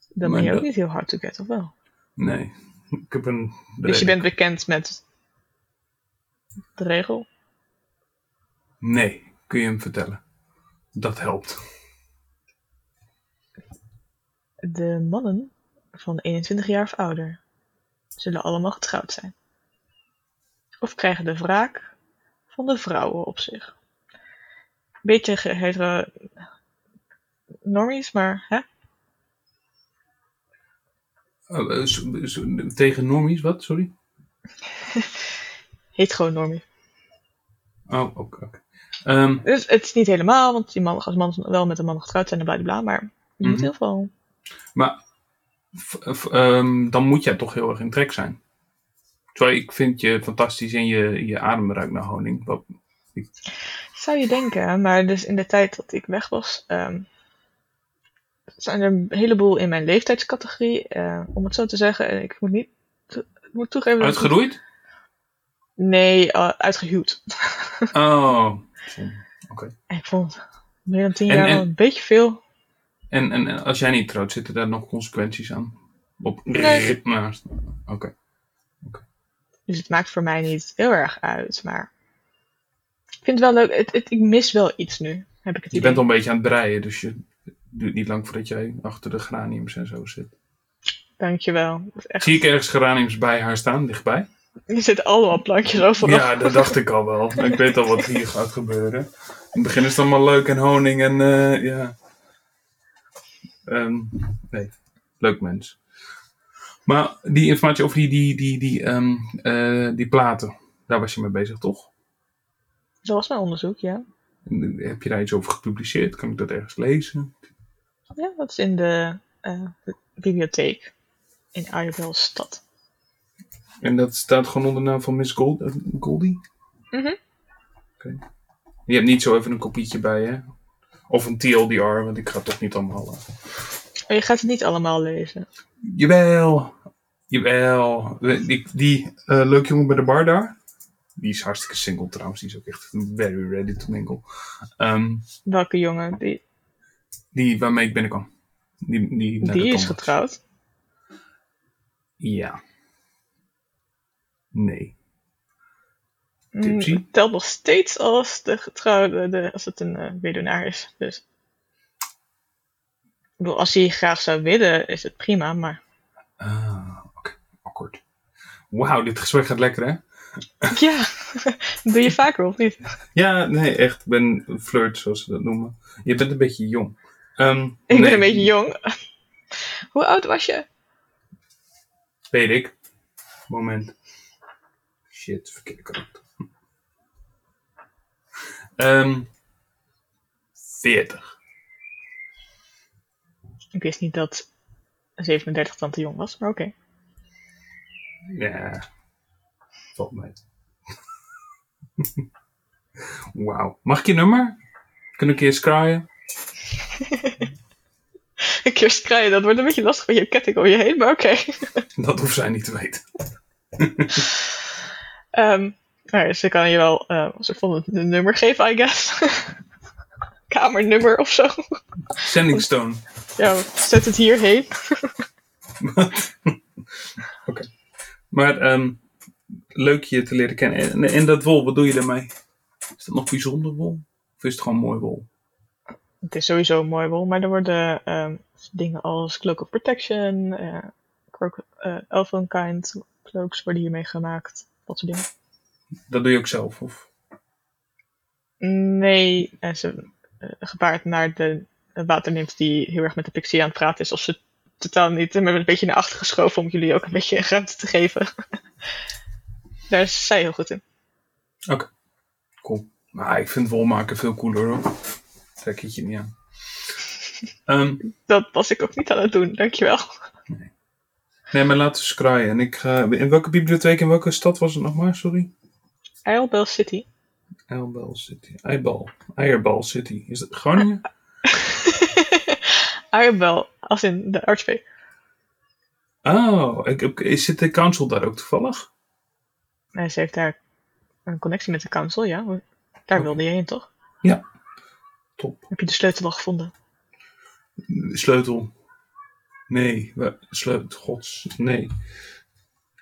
Speaker 1: dan
Speaker 5: maar
Speaker 1: ben je ook
Speaker 5: dat-
Speaker 1: niet heel hard to get, of wel?
Speaker 5: Nee, ik heb een...
Speaker 1: Dus je bent bekend met de regel?
Speaker 5: Nee, kun je hem vertellen. Dat helpt.
Speaker 1: De mannen van 21 jaar of ouder zullen allemaal getrouwd zijn. Of krijgen de wraak van de vrouwen op zich. Beetje ge- hetero... normies, maar hè?
Speaker 5: Eh, eh, s- s- tegen normies, wat? Sorry?
Speaker 1: heteronormies.
Speaker 5: Oh, oké. oké. Ehm,
Speaker 1: Dus het is niet helemaal, want die mannen, als mannen wel met een man getrouwd zijn en bla bla, bla, maar je moet
Speaker 5: Mhm.
Speaker 1: heel veel.
Speaker 5: maar f- f- ehm, dan moet jij toch heel erg in trek zijn. Sorry, ik vind je fantastisch en je, je adem ruikt naar honing. Wat,
Speaker 1: Zou je denken, maar dus in de tijd dat ik weg was, ehm, zijn er een heleboel in mijn leeftijdscategorie, eh, om het zo te zeggen. En ik moet niet, ik moet toegeven. dat ik niet-
Speaker 5: Uitgeroeid?
Speaker 1: Nee, eh, uitgehuwd.
Speaker 5: Oh.
Speaker 1: En ik vond meer dan tien
Speaker 5: En-
Speaker 1: jaar
Speaker 5: en-
Speaker 1: wel een beetje veel.
Speaker 5: En, en, en als jij niet trouwt, zitten daar nog consequenties aan? Op
Speaker 1: Nee.
Speaker 5: naast. Oké.
Speaker 1: Dus het maakt voor mij niet heel erg uit, maar ik vind het wel leuk. Het, het- ik mis wel iets nu, heb ik het
Speaker 5: Je
Speaker 1: idee.
Speaker 5: bent al een beetje aan het breien, dus je het duurt niet lang voordat jij achter de geraniums en zo zit.
Speaker 1: Dankjewel. Dat is echt...
Speaker 5: Zie ik ergens geraniums bij haar staan, dichtbij?
Speaker 1: Er zitten allemaal plankjes overal.
Speaker 5: Ja, dat dacht ik al wel. Ik weet al wat hier gaat gebeuren. In het begin is het allemaal leuk en honing en eh, ja. Ehm, nee, leuk mens. Maar die informatie over die, die, die, die, ehm, eh, die platen, daar was je mee bezig, toch?
Speaker 1: Zo was mijn onderzoek, ja.
Speaker 5: En, eh, Heb je daar iets over gepubliceerd? Kan ik dat ergens lezen?
Speaker 1: Ja, dat is in de eh, bibliotheek in Arjebel's stad.
Speaker 5: En dat staat gewoon onder de naam van Miss Gold, eh, Goldie?
Speaker 1: Mhm.
Speaker 5: Oké. Je hebt niet zo even een kopietje bij, hè? Of een TLDR, want ik ga het toch niet allemaal... eh,
Speaker 1: Maar Oh, je gaat het niet allemaal lezen.
Speaker 5: Jawel. Jawel. Die, die eh, leuk jongen bij de bar daar. Die is hartstikke single trouwens. Die is ook echt very ready to mingle. Ehm,
Speaker 1: Welke jongen? Die,
Speaker 5: die waarmee ik binnenkwam. Die, die, naar de
Speaker 1: die is
Speaker 5: tandarts.
Speaker 1: getrouwd.
Speaker 5: Ja. Nee.
Speaker 1: Mm,
Speaker 5: Tipsy.
Speaker 1: het telt nog steeds als de getrouwde, de, als het een eh, weduwnaar is. Dus. Ik bedoel, als hij graag zou willen, is het prima, maar...
Speaker 5: Ah, oké. Akkoord. Wauw, dit gesprek gaat lekker hè?
Speaker 1: Ja, doe je vaker of niet?
Speaker 5: Ja, nee, echt. Ik ben een flirt, zoals ze dat noemen. Je bent een beetje jong. Ehm,
Speaker 1: Ik
Speaker 5: nee,
Speaker 1: ben een beetje jong. Hoe oud was je?
Speaker 5: Weet ik. Moment. Shit, verkeerde kant. Ehm 40.
Speaker 1: Ik wist niet dat 37 dan te jong was, maar oké.
Speaker 5: Ja. Valt mee. Wauw. Mag ik je nummer? Kunnen we een keer scryen?
Speaker 1: Een keer kraaien, dat wordt een beetje lastig met je ketting om je heen, maar oké.
Speaker 5: Dat hoeft zij niet te weten.
Speaker 1: Ehm, nou ja, ze kan je wel, eh, ze vonden het een nummer geven, I guess. Kamernummer of zo.
Speaker 5: Sending Stone.
Speaker 1: Ja, zet het hierheen.
Speaker 5: Maar ehm, leuk je te leren kennen. En, en dat wol, wat doe je daarmee? Is dat nog bijzonder wol? Of is het gewoon mooi wol?
Speaker 1: Het is sowieso een mooi wol, maar er worden ehm, dingen als Cloak of Protection, eh cloak, eh, Elfenkind cloaks worden hiermee gemaakt, dat soort dingen.
Speaker 5: Dat doe je ook zelf? Of?
Speaker 1: Nee, eh, ze eh, gebaart naar de waternimf die heel erg met de pixie aan het praten is. Of ze totaal niet. We hebben een beetje naar achter geschoven om jullie ook een beetje ruimte te geven. Daar is zij heel goed in.
Speaker 5: Cool. Maar Nou, ik vind wolmaken veel cooler hoor. Trek het je niet aan. Ehm,
Speaker 1: Dat was ik ook niet aan het doen, dankjewel.
Speaker 5: nee, maar laten we scryen. En ik ga... In welke bibliotheek, in welke stad was het nog maar? Sorry.
Speaker 1: Eilbel City.
Speaker 5: Eyerball City. Eyeball. Eyerball City. Is dat Groningen?
Speaker 1: Eilbel, als in de archway.
Speaker 5: Oh, ik, ik- is zit de council daar ook toevallig?
Speaker 1: Nee, ze heeft daar een connectie met de council, ja. Daar wilde je heen, toch?
Speaker 5: Top.
Speaker 1: Heb je de sleutel al gevonden?
Speaker 5: Sleutel. Nee. we- Sleutel. Gods. Nee.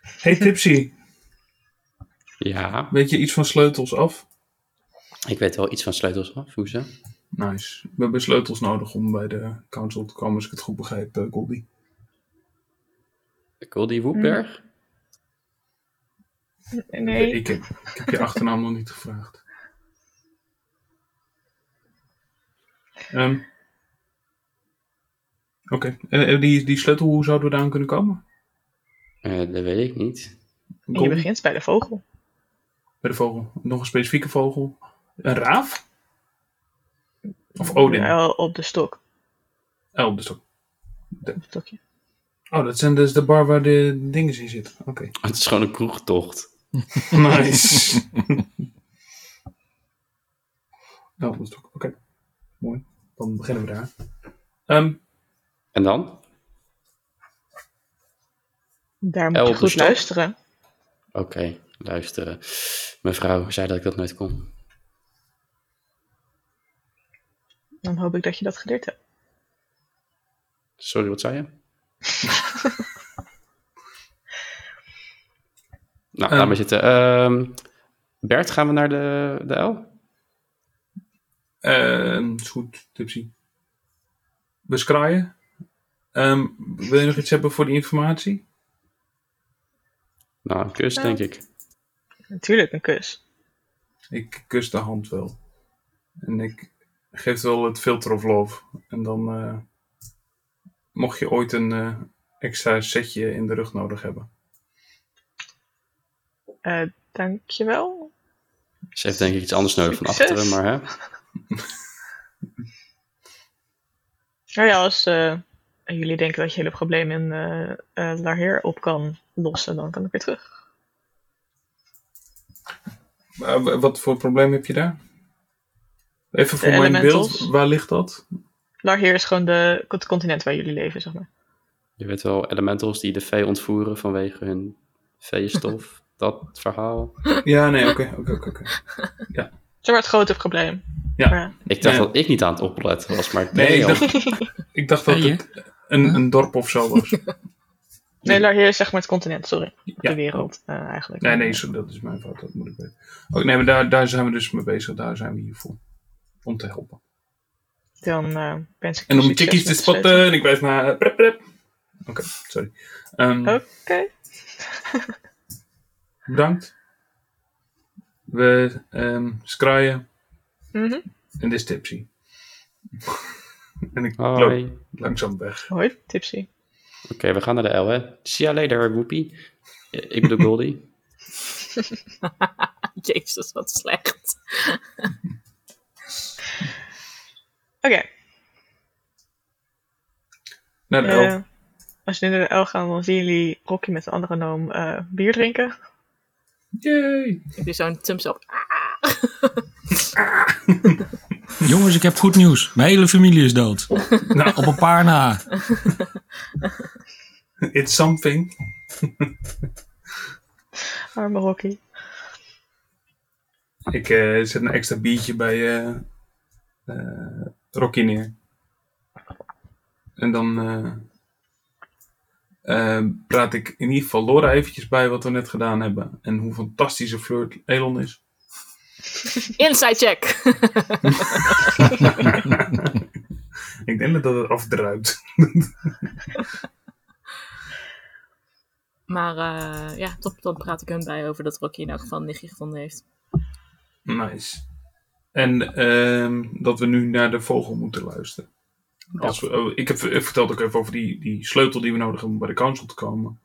Speaker 5: Hey Tipsy,
Speaker 3: Ja,
Speaker 5: weet je iets van sleutels af?
Speaker 3: ik weet wel iets van sleutels af, hoe ze.
Speaker 5: Nice. We hebben sleutels nodig om bij de council te komen, als ik het goed begrijp, eh, Goldie.
Speaker 3: Goldie Woeberg?
Speaker 1: Nee.
Speaker 5: Ik heb, ik heb je achternaam nog niet gevraagd. Ehm, Oké, Eh, eh, die, die sleutel, hoe zouden we daar aan kunnen komen?
Speaker 3: Eh, dat weet ik niet.
Speaker 1: En je
Speaker 5: Goldie?
Speaker 1: begint bij de vogel.
Speaker 5: Bij de vogel. Nog een specifieke vogel. Een raaf? Of Odin?
Speaker 1: Ja, op de stok.
Speaker 5: Oh, dat is ook-
Speaker 1: Op het stokje.
Speaker 5: oh, dat zijn dus de bar waar de dingen in zitten. Oké.
Speaker 3: Het is gewoon een kroegtocht.
Speaker 5: Nice. oh, dat is ook- Oké. Mooi. Dan beginnen we daar. Ehm,
Speaker 3: En dan?
Speaker 1: Daar moet
Speaker 3: Eh, op
Speaker 1: je
Speaker 3: de
Speaker 1: goed
Speaker 3: stok.
Speaker 1: luisteren.
Speaker 3: Oké, luisteren. Mevrouw zei dat ik dat nooit kon.
Speaker 1: Dan hoop ik dat je dat geleerd hebt.
Speaker 3: Sorry, wat zei je? nou, laat
Speaker 5: Ehm.
Speaker 3: maar zitten. Ehm, Bert, gaan we naar de, de L?
Speaker 5: ehm, is goed, Tipsy. We scraaien. Ehm, wil je nog iets hebben voor de informatie?
Speaker 3: Nou, een kus,
Speaker 1: Ja.
Speaker 3: denk ik.
Speaker 1: Natuurlijk, een kus.
Speaker 5: Ik kus de hand wel. En ik geef wel het filter of love. En dan eh, mocht je ooit een eh, extra setje in de rug nodig hebben.
Speaker 1: Eh, dankjewel.
Speaker 3: Ze heeft denk ik iets anders nodig van
Speaker 1: Succes.
Speaker 3: achteren, maar hè?
Speaker 1: Nou ja, als eh, jullie denken dat je hele probleem in eh eh, Laheer op kan lossen, dan kan ik weer terug.
Speaker 5: Maar w- wat voor probleem heb je daar? Even voor mijn
Speaker 1: elementals.
Speaker 5: beeld, waar ligt dat?
Speaker 1: Laheer is gewoon de, het continent waar jullie leven, zeg maar.
Speaker 3: Je weet wel, elementals die de vee ontvoeren vanwege hun veestof. dat verhaal.
Speaker 5: Ja, nee, oké, oké, oké. oké.
Speaker 1: Zeg maar het grote probleem.
Speaker 5: Ja.
Speaker 1: Maar,
Speaker 3: Ik dacht
Speaker 5: Ja.
Speaker 3: dat ik niet aan het opletten was, maar ik
Speaker 5: Nee,
Speaker 3: deed
Speaker 5: ik
Speaker 3: al.
Speaker 5: dacht, ik dacht dat
Speaker 2: Hey, hè?
Speaker 5: het een, een dorp of zo was.
Speaker 1: nee, Laheer is zeg maar het continent, sorry.
Speaker 5: Ja.
Speaker 1: De wereld, eh, eigenlijk.
Speaker 5: Nee, nee, zo, dat is mijn fout, dat moet ik weten. Oh, nee, maar daar, daar zijn we dus mee bezig, daar zijn we hier voor. Om te helpen.
Speaker 1: Dan eh wens ik
Speaker 5: En
Speaker 1: je
Speaker 5: om
Speaker 1: succes
Speaker 5: tikkies te
Speaker 1: met de sleutel.
Speaker 5: spotten. En ik wijs naar. Prep, prep. Oké, sorry. Ehm,
Speaker 1: Oké.
Speaker 5: Bedankt. We ehm scraaien.
Speaker 1: Mhm.
Speaker 5: En dit is tipsy. en ik
Speaker 3: Hoi.
Speaker 5: loop
Speaker 3: Oké,
Speaker 5: langzaam weg.
Speaker 1: Hoi, Tipsy.
Speaker 3: we gaan naar de L, hè? See you later, Woepie. Eh, Ik bedoel Goldie.
Speaker 4: Jezus, wat slecht.
Speaker 1: Oké,
Speaker 5: Naar de
Speaker 1: eh,
Speaker 5: elf.
Speaker 1: als jullie naar de L gaan, dan zien jullie Rocky met een andere noom eh, bier drinken.
Speaker 5: Yay!
Speaker 4: Ik doe zo'n thumbs up.
Speaker 2: Jongens, ik heb goed nieuws. Mijn hele familie is dood. Nou, Op een paar na.
Speaker 5: It's something.
Speaker 1: Arme Rocky.
Speaker 5: Ik eh, zet een extra biertje bij eh, eh, Rocky neer. En dan eh, eh, praat ik in ieder geval Laura eventjes bij wat we net gedaan hebben. En hoe fantastische flirt Elon is.
Speaker 4: Inside check.
Speaker 5: Ik denk dat dat het afdruipt.
Speaker 4: Maar eh, ja, top, dan praat ik hun bij over dat Rocky in elk geval een nichtje gevonden heeft.
Speaker 5: Nice. En ehm, dat we nu naar de vogel moeten luisteren. Als we, oh, ik heb ik vertelde ook even over die, die sleutel die we nodig hebben om bij de council te komen.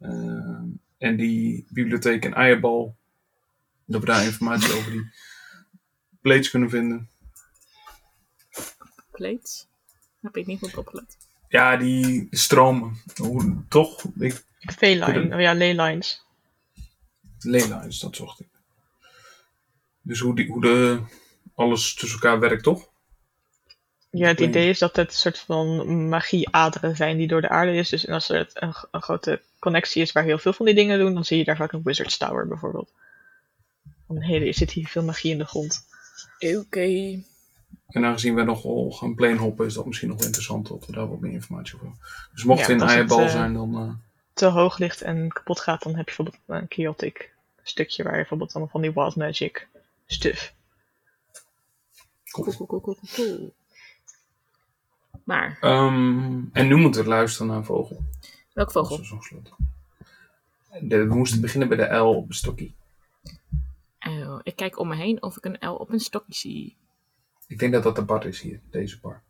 Speaker 5: Ehm, en die bibliotheek in Eierbal. Dat we daar informatie over die plates kunnen vinden.
Speaker 4: Plates? Heb ik niet goed opgelet.
Speaker 5: Ja, die stromen. Hoe, toch? Ik,
Speaker 1: Veelijn, oh ja, leylines.
Speaker 5: leylines, dat zocht ik. Dus hoe, die, hoe de, alles tussen elkaar werkt, toch?
Speaker 1: Ja, het idee is dat het een soort van magieaderen zijn die door de aarde is. Dus en als er het een, een grote connectie is waar heel veel van die dingen doen, dan zie je daar vaak een Wizard's Tower bijvoorbeeld. Van hé, er zit hier veel magie in de grond.
Speaker 4: Oké.
Speaker 5: En aangezien we nogal gaan planehoppen, is dat misschien nog wel interessant dat we daar wat meer informatie over hebben. Dus mocht
Speaker 1: Ja,
Speaker 5: we in
Speaker 1: als het,
Speaker 5: Eierbal
Speaker 1: eh,
Speaker 5: zijn, dan... eh,
Speaker 1: Te hoog ligt en kapot gaat, dan heb je bijvoorbeeld een chaotic stukje waar je bijvoorbeeld allemaal van die wild magic stuff.
Speaker 5: kom.
Speaker 4: Cool, cool, cool, cool, cool, cool. Maar,
Speaker 5: Ehm, en nu moeten we luisteren naar een vogel.
Speaker 1: Oh,
Speaker 4: welk
Speaker 5: Dat
Speaker 4: vogel?
Speaker 5: is zo'n slot. De- we moesten beginnen bij de L op een stokkie.
Speaker 4: Oh, ik kijk om me heen of ik een L op een stokje zie.
Speaker 5: Ik denk dat dat de bar is hier, deze bar.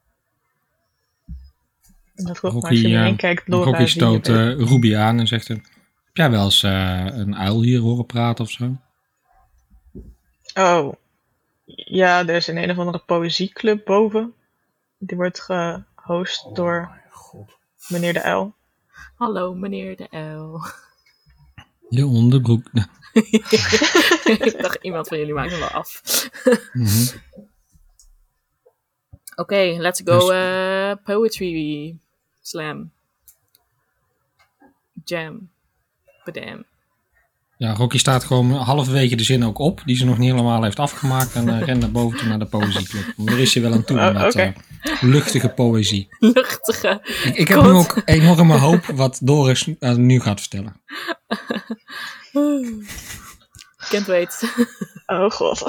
Speaker 1: En dat klopt, maar
Speaker 2: Rocky,
Speaker 1: als je om je
Speaker 2: eh,
Speaker 1: heen kijkt, Laura...
Speaker 2: Rocky
Speaker 1: zie je
Speaker 2: stoot
Speaker 1: weer-
Speaker 2: eh, Ruby aan en zegt... eh, Heb jij wel eens eh, een uil hier horen praten of zo?
Speaker 1: Oh. Ja, er is een een of andere poëzieclub boven. Die wordt gehost
Speaker 5: Oh
Speaker 1: door
Speaker 5: mijn god.
Speaker 1: meneer de L.
Speaker 4: Hallo, meneer de L.
Speaker 2: Je onderbroek.
Speaker 4: ik dacht, iemand van jullie maakt hem wel af.
Speaker 2: Mhm.
Speaker 4: Oké, let's go
Speaker 2: Dus-
Speaker 4: eh, poetry slam. Jam. Badam.
Speaker 2: Ja, Rocky staat gewoon halverwege de zin ook op, die ze nog niet helemaal heeft afgemaakt. En eh, rent naar boven toe naar de poëzieclub. Want Daar is ze wel aan toe,
Speaker 1: Oh,
Speaker 2: met
Speaker 1: oké.
Speaker 2: eh, luchtige poëzie.
Speaker 4: Luchtige.
Speaker 2: Ik, ik heb
Speaker 4: God.
Speaker 2: nu ook enorme hoop wat Doris eh, nu gaat vertellen.
Speaker 4: Kent weet.
Speaker 1: Oh god.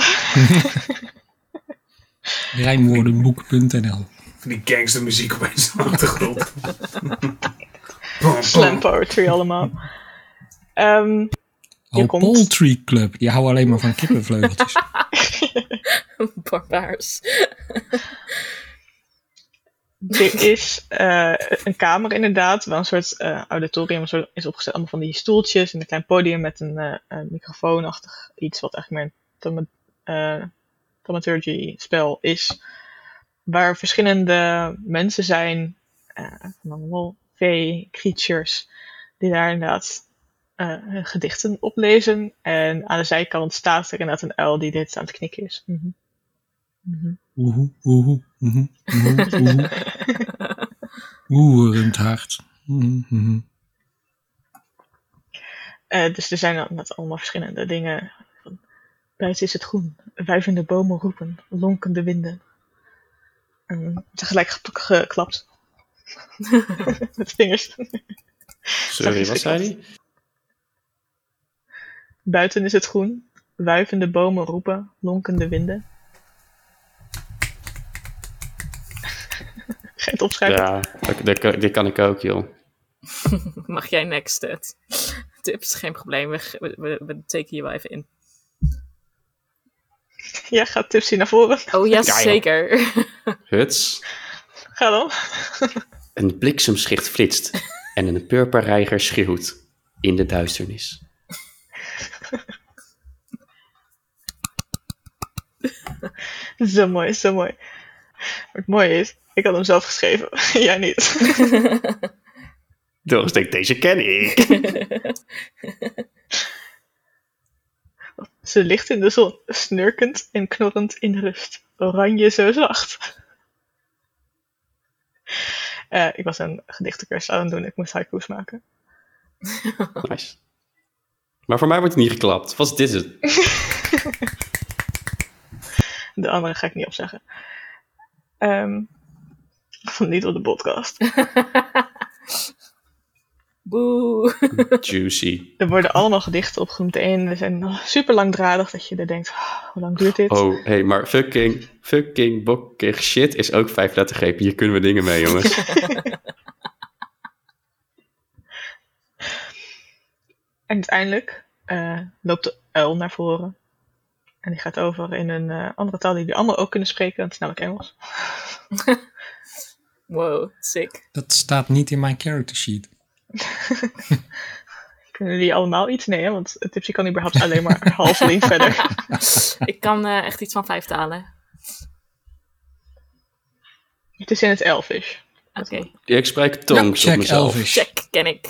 Speaker 2: Rijmwoordenboek.nl
Speaker 5: Van die gangstermuziek opeens op de achtergrond. Oh.
Speaker 1: Slam poetry allemaal. Ehm, Hier
Speaker 2: Oh,
Speaker 1: komt-
Speaker 2: Poultry Club. Die houden alleen maar van kippenvleugeltjes.
Speaker 4: Barbaars.
Speaker 1: er is eh, een kamer inderdaad, waar een soort eh, auditorium een soort, is opgezet. Allemaal van die stoeltjes en een klein podium met een, eh, een microfoonachtig iets. Wat eigenlijk meer een thaumat- eh, thaumaturgy spel is. Waar verschillende mensen zijn. eh, van allemaal vee, creatures. Die daar inderdaad eh, hun gedichten oplezen. En aan de zijkant staat er inderdaad een uil die dit aan het knikken is. Mhm. Mhm.
Speaker 2: Oehoe, oehoe, oehoe, oehoe, oehoe. Oerend hard. Mhm, mhm.
Speaker 1: Eh, dus er zijn dan net allemaal verschillende dingen. Van, buiten is het groen, wuivende bomen roepen, lonkende winden. En tegelijk gep- geklapt. Met vingers.
Speaker 3: Sorry,
Speaker 1: ik
Speaker 3: wat zei hij?
Speaker 1: Buiten is het groen, wuivende bomen roepen, lonkende winden. Geen het opschrijven.
Speaker 3: Ja, dat- dat kan- dit kan ik ook, joh.
Speaker 4: Mag jij next het? Tips, geen probleem. We, we, we- we taken je wel even in.
Speaker 1: Ja, gaat Tipsy naar voren.
Speaker 4: Oh, yes,
Speaker 3: Ja, joh.
Speaker 4: zeker.
Speaker 3: Huts.
Speaker 1: Ga dan.
Speaker 3: Een bliksemschicht flitst en een purperreiger schreeuwt in de duisternis.
Speaker 1: Zo mooi, zo mooi. Wat mooi is, ik had hem zelf geschreven. Jij niet.
Speaker 3: Doris denkt, deze ken ik.
Speaker 1: Ze ligt in de zon, snurkend en knorrend in rust. Oranje zo zacht. Eh, ik was een gedichtencursus aan het doen, ik moest haiku's maken.
Speaker 3: Nice. Maar voor mij wordt het niet geklapt. Was dit het?
Speaker 1: De andere ga ik niet opzeggen. Ehm, van niet op de podcast.
Speaker 4: Boe.
Speaker 3: Juicy.
Speaker 1: Er worden allemaal gedichten opgenoemd en er zijn super langdradig dat je er denkt, "Oh, hoe lang duurt dit?
Speaker 3: Oh, hé, hey, maar fucking, fucking bokkig shit is ook vijf lettergrepen. Hier kunnen we dingen mee, jongens.
Speaker 1: En uiteindelijk eh, loopt de uil naar voren. Eh, En die gaat over in een eh, andere taal die jullie allemaal ook kunnen spreken, dat is namelijk Engels.
Speaker 4: Wow, sick.
Speaker 2: Dat staat niet in mijn character sheet.
Speaker 1: Kunnen jullie allemaal iets? Nee, hè? want Tipsy kan überhaupt alleen maar half link verder.
Speaker 4: Ik kan eh, echt iets van vijf talen.
Speaker 1: Het is in het Elfish.
Speaker 4: Oké,
Speaker 3: Ik spreek tongs
Speaker 2: check
Speaker 3: op mezelf.
Speaker 2: Elvish.
Speaker 4: check, ken ik.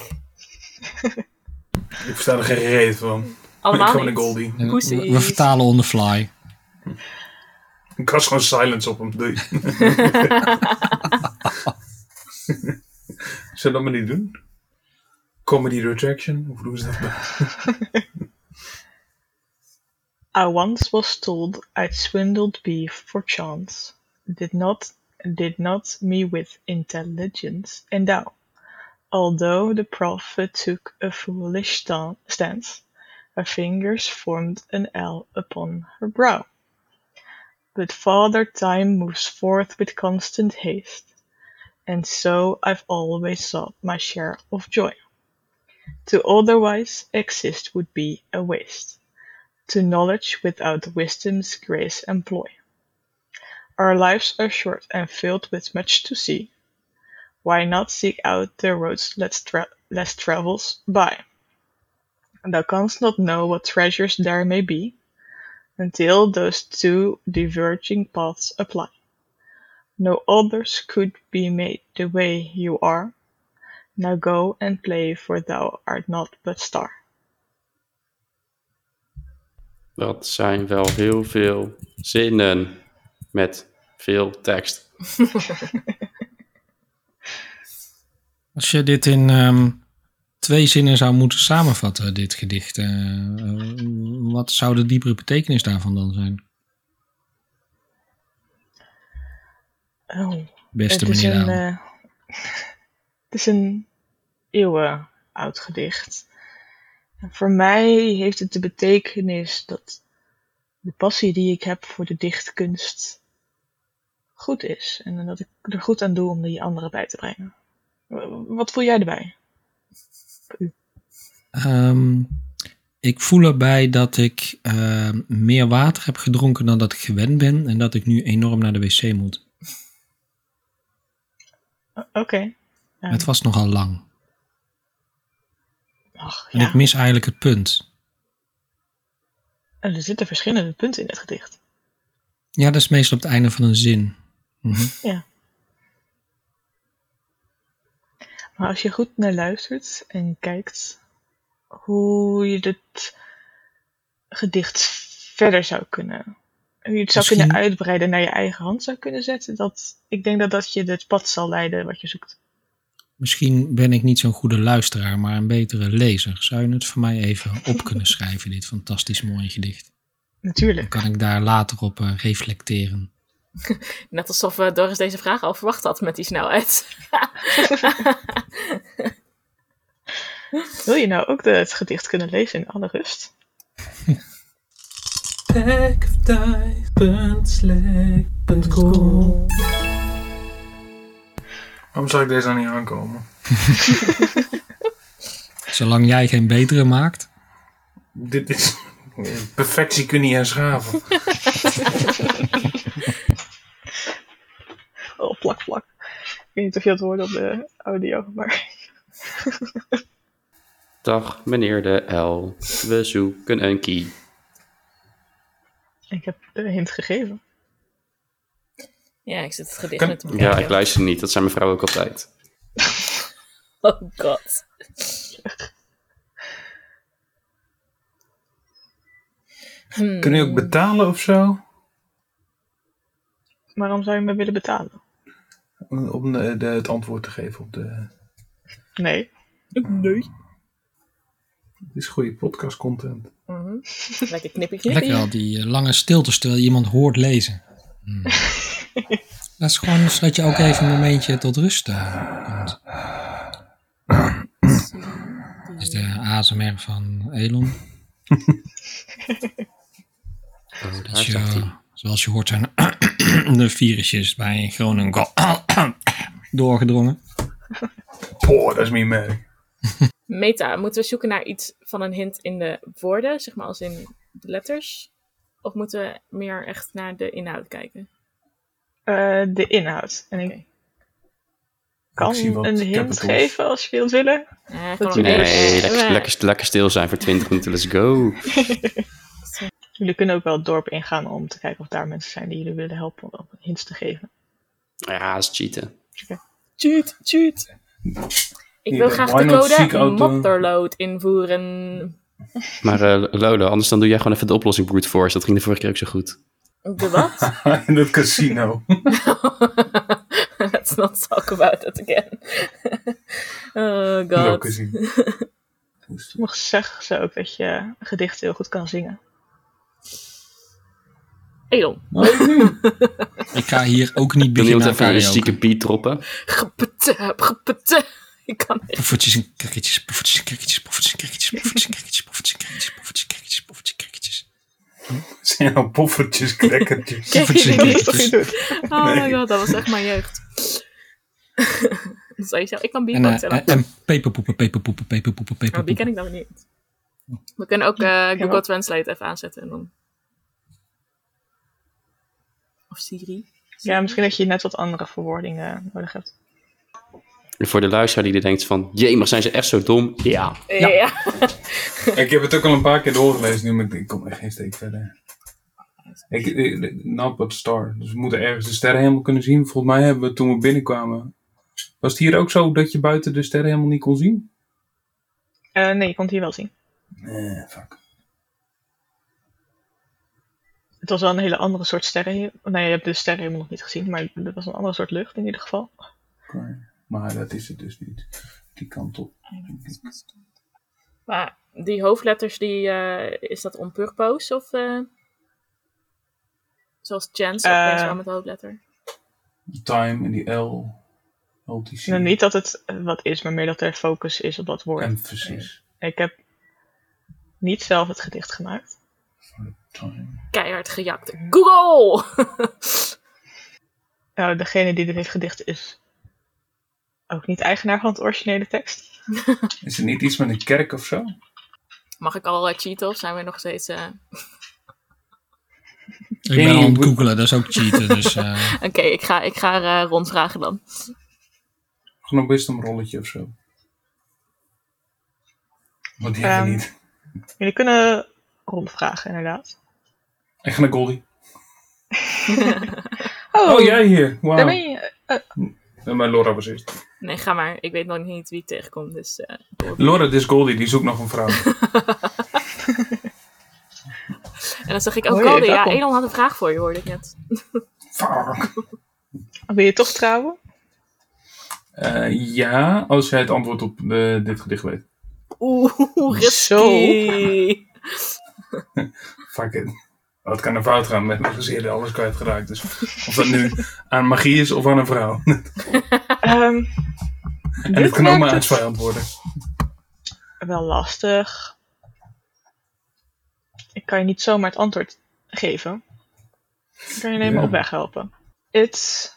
Speaker 5: Ik versta er geen reet van. ik
Speaker 4: Allemaal
Speaker 5: gewoon een
Speaker 4: niet.
Speaker 5: Goldie.
Speaker 2: We,
Speaker 4: Poesies.
Speaker 2: we vertalen on the fly.
Speaker 5: Ik was gewoon silence op hem. Doei. Zullen we dat maar niet doen? Comedy retraction? Hoe doen ze dat?
Speaker 1: I once was told I'd swindled beef for chance, did not did not me with intelligence and thou. Although the prophet took a foolish stan- stance, her fingers formed an L upon her brow. But Father Time moves forth with constant haste, and so I've always sought my share of joy. To otherwise exist would be a waste to knowledge without wisdom's grace employ. Our lives are short and filled with much to see. Why not seek out the roads less, tra- less travels by? Thou canst not know what treasures there may be until those two diverging paths apply. No others could be made the way you are. Now go and play, for thou art not but star.
Speaker 3: Dat zijn wel heel veel zinnen met veel tekst.
Speaker 2: Als je dit in ehm, twee zinnen zou moeten samenvatten, dit gedicht, eh, eh, wat zou de diepere betekenis daarvan dan zijn?
Speaker 1: Oh.
Speaker 2: Beste
Speaker 1: het is
Speaker 2: meneer
Speaker 1: een,
Speaker 2: Daan.
Speaker 1: eh, Het is een eeuwen oud gedicht. En voor mij heeft het de betekenis dat de passie die ik heb voor de dichtkunst goed is. En dat ik er goed aan doe om die anderen bij te brengen. W- Wat voel jij erbij?
Speaker 2: Ehm, ik voel erbij dat ik ehm, meer water heb gedronken dan dat ik gewend ben en dat ik nu enorm naar de wc moet.
Speaker 1: O- Oké. Ja.
Speaker 2: Het was nogal lang.
Speaker 1: Ach,
Speaker 2: En
Speaker 1: ja.
Speaker 2: ik mis eigenlijk het punt.
Speaker 1: En er zitten verschillende punten in het gedicht.
Speaker 2: Ja, dat is meestal op het einde van een zin. Mhm.
Speaker 1: Maar als je goed naar luistert en kijkt hoe je dit gedicht verder zou kunnen. Hoe je het zou
Speaker 2: Misschien-
Speaker 1: kunnen uitbreiden naar je eigen hand zou kunnen zetten. Dat, ik denk dat dat je het pad zal leiden wat je zoekt.
Speaker 2: Misschien ben ik niet zo'n goede luisteraar, maar een betere lezer. Zou je het voor mij even op kunnen schrijven, dit fantastisch mooie gedicht? Dan
Speaker 1: Natuurlijk.
Speaker 2: kan ik daar later op eh, reflecteren.
Speaker 4: Net alsof eh, Doris deze vraag al verwacht had met die snelheid.
Speaker 1: Wil je nou ook de, het gedicht kunnen lezen in alle rust?
Speaker 6: Backofdice.slack.com
Speaker 5: Waarom zou ik deze nou niet aankomen?
Speaker 2: Zolang jij geen betere maakt.
Speaker 5: Dit is... Perfectie kun je niet herschaven.
Speaker 1: Oh, plak, plak. Ik weet niet of je dat hoort op de audio, maar...
Speaker 3: Dag meneer de L, we zoeken een key.
Speaker 1: Ik heb de hint gegeven.
Speaker 4: Ja, ik zit het gedicht
Speaker 5: Kan-
Speaker 4: met hem.
Speaker 3: Ja, ik luister niet, dat zijn mijn vrouwen ook altijd.
Speaker 4: Oh god. Hmm.
Speaker 5: Kun je ook betalen of zo?
Speaker 1: Waarom zou je me willen betalen?
Speaker 5: Om om de, de- het antwoord te geven op de...
Speaker 1: Nee.
Speaker 4: Nee.
Speaker 5: Dit is goede podcast content.
Speaker 4: Mhm. Lekker knippie
Speaker 2: Lekker
Speaker 4: knippie.
Speaker 2: al die eh, lange stiltes terwijl je iemand hoort lezen. Hmm. Dat is gewoon zodat je ook even een momentje tot rust eh, komt. Dit is de ASMR van Elon.
Speaker 3: Daar
Speaker 2: Dus
Speaker 3: zegt hij.
Speaker 2: ja, zoals je hoort zijn de virusjes bij Groningen al- doorgedrongen.
Speaker 5: Oh, dat is mijn merk.
Speaker 4: Meta, moeten we zoeken naar iets van een hint in de woorden, zeg maar als in de letters? Of moeten we meer echt naar de inhoud kijken?
Speaker 1: Eh, de inhoud. En ik
Speaker 4: Oké.
Speaker 5: Ik
Speaker 1: kan
Speaker 5: zie wat
Speaker 1: een hint
Speaker 5: capitals.
Speaker 1: geven als je wilt willen.
Speaker 4: Eh,
Speaker 1: Dat
Speaker 4: gewoon- Eh,
Speaker 1: jullie-
Speaker 3: Nee,
Speaker 1: Nee.
Speaker 3: lekker, lekker, lekker stil zijn voor 20 minuten. Let's go.
Speaker 1: Jullie kunnen ook wel het dorp ingaan om te kijken of daar mensen zijn die jullie willen helpen om hints te geven.
Speaker 3: Ja, dat is cheaten.
Speaker 4: Cheat, cheat. Ik wil
Speaker 5: Ja,
Speaker 4: graag
Speaker 5: why
Speaker 4: de
Speaker 5: not seek
Speaker 4: code
Speaker 5: out the-
Speaker 4: Motherload invoeren.
Speaker 3: Maar eh Lolo, anders dan doe jij gewoon even de oplossing brute force. Dat ging de vorige keer ook zo goed.
Speaker 4: De wat?
Speaker 5: In het casino.
Speaker 4: Let's not talk about that again. oh
Speaker 5: Welk
Speaker 4: god.
Speaker 5: casino?
Speaker 1: Sommigen zeggen ze ook dat je gedichten heel goed kan zingen.
Speaker 4: Elon.
Speaker 2: Ik ga hier ook niet
Speaker 3: Wil
Speaker 2: beginnen
Speaker 3: iemand
Speaker 2: aan
Speaker 3: even een
Speaker 2: karaoke.
Speaker 3: zieke beat droppen?
Speaker 4: Gepete, gepete. Ik kan echt.
Speaker 2: Poffertjes en krikketjes, poffertjes en krikketjes, poffertjes en krikketjes, poffertjes en krikketjes, poffertjes en krikketjes, poffertjes en krikketjes, poffertjes en krikketjes.
Speaker 5: Zijn nou poffertjes, crackertjes?
Speaker 4: Kijk,
Speaker 2: Poffertjes en
Speaker 4: dat is
Speaker 1: Wat
Speaker 2: krikketjes.
Speaker 1: je doet.
Speaker 4: Oh my
Speaker 5: Nee.
Speaker 4: god, dat was echt mijn jeugd. Dat zei je zelf. Ik kan
Speaker 2: En,
Speaker 4: beatboxen.
Speaker 2: eh, en peperpoepen, peperpoepen, peperpoepen,
Speaker 4: Maar Nou, die ken
Speaker 2: peperpoepen.
Speaker 4: ik dan weer niet. We kunnen ook eh, Google
Speaker 1: wel.
Speaker 4: Translate even aanzetten en dan. Of Siri.
Speaker 1: Ja, misschien dat je net wat andere verwoordingen nodig hebt.
Speaker 3: En voor de luisteraar die er denkt van... Jee, maar zijn ze echt zo dom? Ja.
Speaker 4: Ja.
Speaker 5: Ik heb het ook al een paar keer doorgelezen nu, maar ik denk, ik kom echt geen steek verder. Ik, ik- not but star. Dus we moeten ergens de sterren helemaal kunnen zien. Volgens mij hebben we toen we binnenkwamen... Was het hier ook zo dat je buiten de sterren helemaal niet kon zien?
Speaker 1: Eh, nee, je kon het hier wel zien.
Speaker 5: Nee, fuck.
Speaker 1: Het was wel een hele andere soort sterrenhemel. Nee, je hebt de sterrenhemel nog niet gezien, maar het was een andere soort lucht in ieder geval.
Speaker 5: Oké. Maar dat is het dus niet. Die kant op.
Speaker 4: Maar die hoofdletters, die, eh, is dat on purpose of. eh, zoals Chance,
Speaker 1: Eh.
Speaker 4: opeens wel met hoofdletter.
Speaker 5: De time en die L. LTC.
Speaker 1: Nou, niet dat het eh, wat is, maar meer dat er focus is op dat woord.
Speaker 5: Emphasis.
Speaker 1: Ik heb niet zelf het gedicht gemaakt.
Speaker 5: Time.
Speaker 4: Keihard gejakt. Google!
Speaker 1: Nou, degene die dit heeft gedicht is ook niet eigenaar van het originele tekst.
Speaker 5: Is het niet iets met een kerk of zo?
Speaker 4: Mag ik al eh, cheaten of zijn we nog steeds. eh,
Speaker 2: Ik ben al aan het
Speaker 5: Nee,
Speaker 2: googelen, dat is ook cheaten. Dus eh,
Speaker 4: Oké, ik ga, ik ga eh, rondvragen dan.
Speaker 5: Gewoon een wisdomrolletje of zo. Want die hebben we
Speaker 1: Ehm.
Speaker 5: niet.
Speaker 1: Jullie kunnen rondvragen, inderdaad.
Speaker 5: Ik ga naar Goldie.
Speaker 1: Oh,
Speaker 5: Oh, jij hier.
Speaker 1: daar
Speaker 5: Wauw.
Speaker 1: ben je.
Speaker 5: En mijn Laura was eerst.
Speaker 4: Nee, ga maar. Ik weet nog niet wie ik tegenkom, dus. eh,
Speaker 5: Laura, dit is Goldie. Die zoekt nog een vrouw.
Speaker 4: En dan zeg ik ook
Speaker 1: Hoi,
Speaker 4: Goldie. Ja,
Speaker 1: welkom.
Speaker 4: Elon had een vraag voor je, hoorde ik net.
Speaker 5: Fuck.
Speaker 1: Wil je toch trouwen?
Speaker 5: Eh, ja, als jij het antwoord op eh, dit gedicht weet.
Speaker 4: Oeh, risky.
Speaker 1: Zo.
Speaker 5: Fuck it. Wat kan er fout gaan met mijn gezin? Alles kwijtgeraakt. Dus of dat nu aan magie is of aan een vrouw.
Speaker 1: Ehm dus-
Speaker 5: en het kan ook maar aan
Speaker 1: het
Speaker 5: twee antwoorden.
Speaker 1: wel lastig. Ik kan je niet zomaar het antwoord geven. Ik kan je alleen maar
Speaker 5: Ja.
Speaker 1: op weg helpen. Het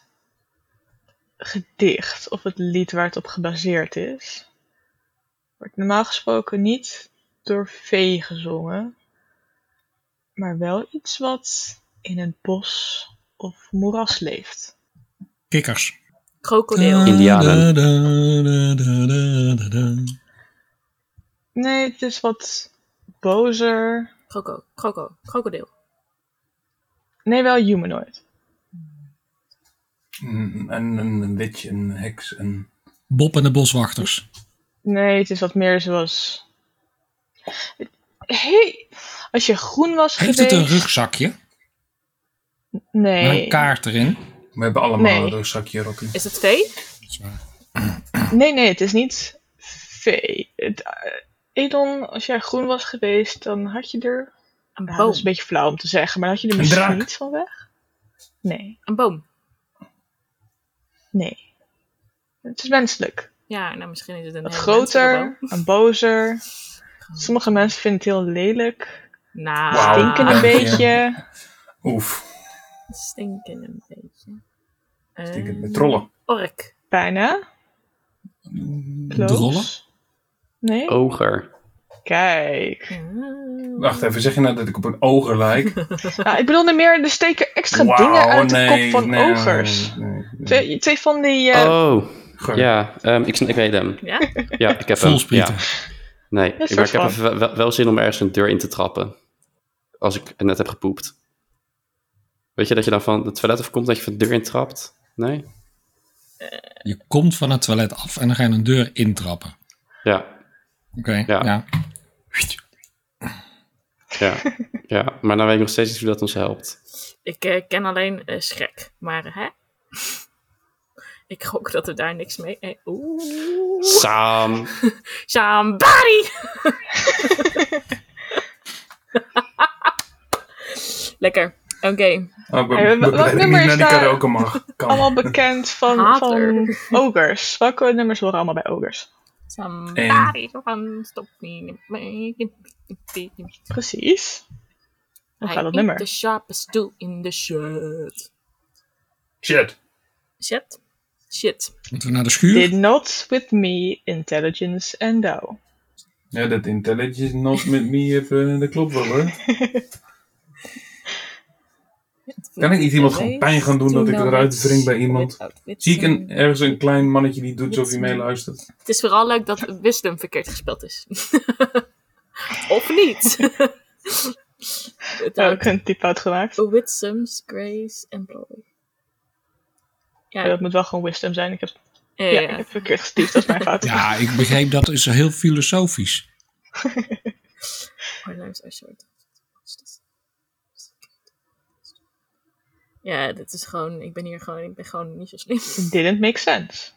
Speaker 1: gedicht of het lied waar het op gebaseerd is, wordt normaal gesproken niet door vee gezongen, maar wel iets wat in het bos of moeras leeft.
Speaker 2: kikkers.
Speaker 4: Krokodil.
Speaker 1: Eh.
Speaker 3: Indianen.
Speaker 2: Da, da, da, da, da, da, da.
Speaker 1: Nee, het is wat bozer.
Speaker 4: Kroko, kroko, krokodil.
Speaker 1: Nee, wel humanoid.
Speaker 5: Mm, en een, een witch, een heks, een...
Speaker 2: Bob en de boswachters.
Speaker 1: Nee, het is wat meer zoals. Hey, als je groen was
Speaker 2: Heeft
Speaker 1: geweest.
Speaker 2: het een rugzakje met
Speaker 1: Nee.
Speaker 2: een kaart erin?
Speaker 3: Eh,
Speaker 5: We hebben allemaal
Speaker 1: Nee.
Speaker 5: een rugzakje, Rocky.
Speaker 4: Is het vee?
Speaker 1: Nee, nee, het is niet vee. Het, eh, Edon, als jij groen was geweest, dan had je er.
Speaker 4: Een
Speaker 1: Nou,
Speaker 4: boom.
Speaker 1: dat is een beetje flauw om te zeggen, maar dan had je er
Speaker 5: Een
Speaker 1: misschien
Speaker 5: draak.
Speaker 1: niet van weg. Nee,
Speaker 4: Een boom.
Speaker 1: nee. Het is menselijk.
Speaker 4: Ja, nou misschien is het een
Speaker 1: Wat
Speaker 4: hele
Speaker 1: groter,
Speaker 4: menselijke
Speaker 1: een bozer. Sommige mensen vinden het heel lelijk.
Speaker 4: boom.
Speaker 2: Ah,
Speaker 4: Nou,
Speaker 5: Wauw.
Speaker 1: Stinken een
Speaker 5: Ja.
Speaker 1: beetje.
Speaker 5: Oef,
Speaker 4: Stinken een beetje. Een
Speaker 5: stinkend met trollen.
Speaker 4: Ork.
Speaker 1: Bijna. Close.
Speaker 2: Drollen?
Speaker 5: Oh.
Speaker 1: Nee.
Speaker 3: Oger.
Speaker 1: Kijk.
Speaker 5: Wacht even, zeg je nou dat ik op een oger lijk?
Speaker 1: Nou, ik bedoelde meer, er steken extra
Speaker 5: Wauw,
Speaker 1: dingen uit
Speaker 5: nee,
Speaker 1: de kop van
Speaker 5: nee,
Speaker 1: ogers.
Speaker 5: nee, nee, nee.
Speaker 1: Twee, twee van die... eh,
Speaker 3: oh,
Speaker 5: Goh.
Speaker 3: ja, ehm, ik, sn- ik weet hem.
Speaker 4: Ja?
Speaker 3: Ja, ik heb hem.
Speaker 2: Voelsprieten.
Speaker 3: Ja. Nee,
Speaker 1: soort
Speaker 3: maar ik heb
Speaker 1: van.
Speaker 3: even wel, wel- wel zin om ergens een deur in te trappen. Als ik net heb gepoept. Weet je dat je dan van het toilet afkomt dat je van de deur in trapt? Nee?
Speaker 2: Je komt van het toilet af en dan ga je een deur intrappen.
Speaker 3: Ja,
Speaker 2: Oké,
Speaker 3: Ja.
Speaker 2: ja.
Speaker 3: ja, ja. Maar dan weet ik nog steeds niet hoe dat ons helpt.
Speaker 4: Ik eh, ken alleen eh, schrek, maar hè? Ik gok dat we daar niks mee... eh, Oeh.
Speaker 3: Saam.
Speaker 4: Somebody! Lekker. Oké.
Speaker 5: Oh, ik ben,
Speaker 1: Hey,
Speaker 5: ik ben
Speaker 1: wat
Speaker 5: blij dat ik
Speaker 1: nummer
Speaker 5: niet
Speaker 1: is
Speaker 5: naar die
Speaker 1: daar?
Speaker 5: karaoke mag. Kan.
Speaker 1: allemaal bekend van, van
Speaker 4: Hater.
Speaker 1: ogers. Welke nummers horen allemaal bij ogers?
Speaker 4: Somebody van stop me. Hoe
Speaker 1: Precies. gaat dat nummer?
Speaker 4: The sharpest tool in the shirt.
Speaker 5: Shit.
Speaker 4: Shit. Shit.
Speaker 2: Moeten we naar de schuur?
Speaker 1: Did not with me, intelligence and thou.
Speaker 5: Ja, dat intelligence not met me even, dat klopt wel hoor. Kan ik niet iemand gewoon pijn gaan doen dat ik eruit wring bij iemand? Zie ik een, ergens een klein mannetje die doet alsof hij meeluistert?
Speaker 4: Het is vooral leuk dat Wisdom verkeerd gespeeld is. of niet. Het
Speaker 1: Daar
Speaker 4: houdt-
Speaker 1: heb ik een typout gemaakt.
Speaker 4: With some grace and glory. Ja,
Speaker 1: Maar Dat moet wel gewoon wisdom zijn. Ik heb,
Speaker 4: eh,
Speaker 1: ja, ik heb verkeerd gestiefd, dat is mijn fout.
Speaker 2: Ja, ik begreep dat is heel filosofisch.
Speaker 4: Our lives are short. dus- Ja, dit is gewoon. Ik ben hier gewoon. Ik ben gewoon niet zo slim.
Speaker 1: Didn't make sense.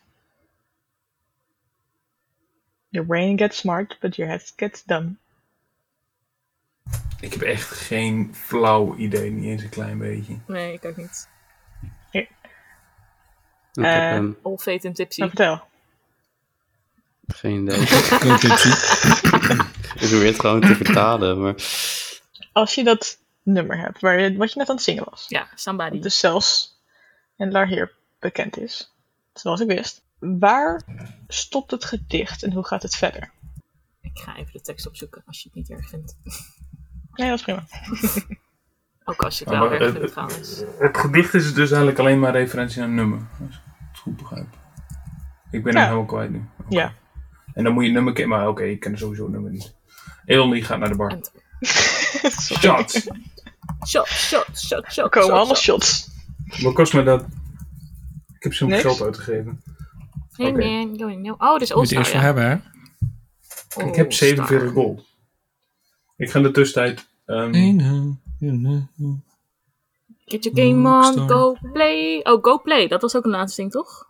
Speaker 1: Your brain gets smart, but your head gets dumb.
Speaker 5: Ik heb echt geen flauw idee, niet eens een klein beetje.
Speaker 4: Nee, ik ook niet.
Speaker 3: Ik
Speaker 1: Eh.
Speaker 3: heb ehm,
Speaker 4: All fate and tipsy.
Speaker 1: Nou, vertel.
Speaker 3: geen idee.
Speaker 2: Go tipsy.
Speaker 3: Ik probeer het gewoon te vertalen, maar...
Speaker 1: Als je dat nummer hebt, waar je, wat je net aan het zingen was.
Speaker 4: Ja, somebody.
Speaker 1: Dus zelfs Endlar hier bekend is. Zoals ik wist. Waar stopt het gedicht en hoe gaat het verder?
Speaker 4: Ik ga even de tekst opzoeken als je het niet erg vindt.
Speaker 1: Nee, dat is prima.
Speaker 4: Ook als je het
Speaker 5: Ja,
Speaker 4: wel
Speaker 5: maar eh,
Speaker 4: erg
Speaker 5: het-
Speaker 4: vindt trouwens.
Speaker 5: Het gedicht is dus eigenlijk alleen maar referentie naar een nummer. Als ik het goed begrijp. Ik ben
Speaker 1: Ja.
Speaker 5: hem helemaal kwijt nu. Oké.
Speaker 1: Ja.
Speaker 5: En dan moet je het nummer kennen, maar oké, ik ken sowieso het nummer niet. Elon die gaat naar de bar.
Speaker 4: Enter.
Speaker 1: Sorry.
Speaker 5: Shots!
Speaker 4: Shot, shot, shot, shot.
Speaker 1: Er komen
Speaker 4: shot,
Speaker 1: allemaal
Speaker 4: shot.
Speaker 1: shots.
Speaker 5: Wat kost me dat? Ik heb zo'n
Speaker 1: Niks.
Speaker 5: geld uitgegeven.
Speaker 4: Hey
Speaker 5: Oké.
Speaker 4: man, going no. Oh, dit is
Speaker 2: Moet je
Speaker 4: All-Star.
Speaker 2: eerst voor
Speaker 4: Ja.
Speaker 2: hebben, hè?
Speaker 5: Ik heb
Speaker 4: All-Star.
Speaker 5: 47 gold. Ik ga in de tussentijd... ehm,
Speaker 4: Get your game on,
Speaker 2: All-Star.
Speaker 4: go play. Oh, go play. Dat was ook een laatste ding, toch?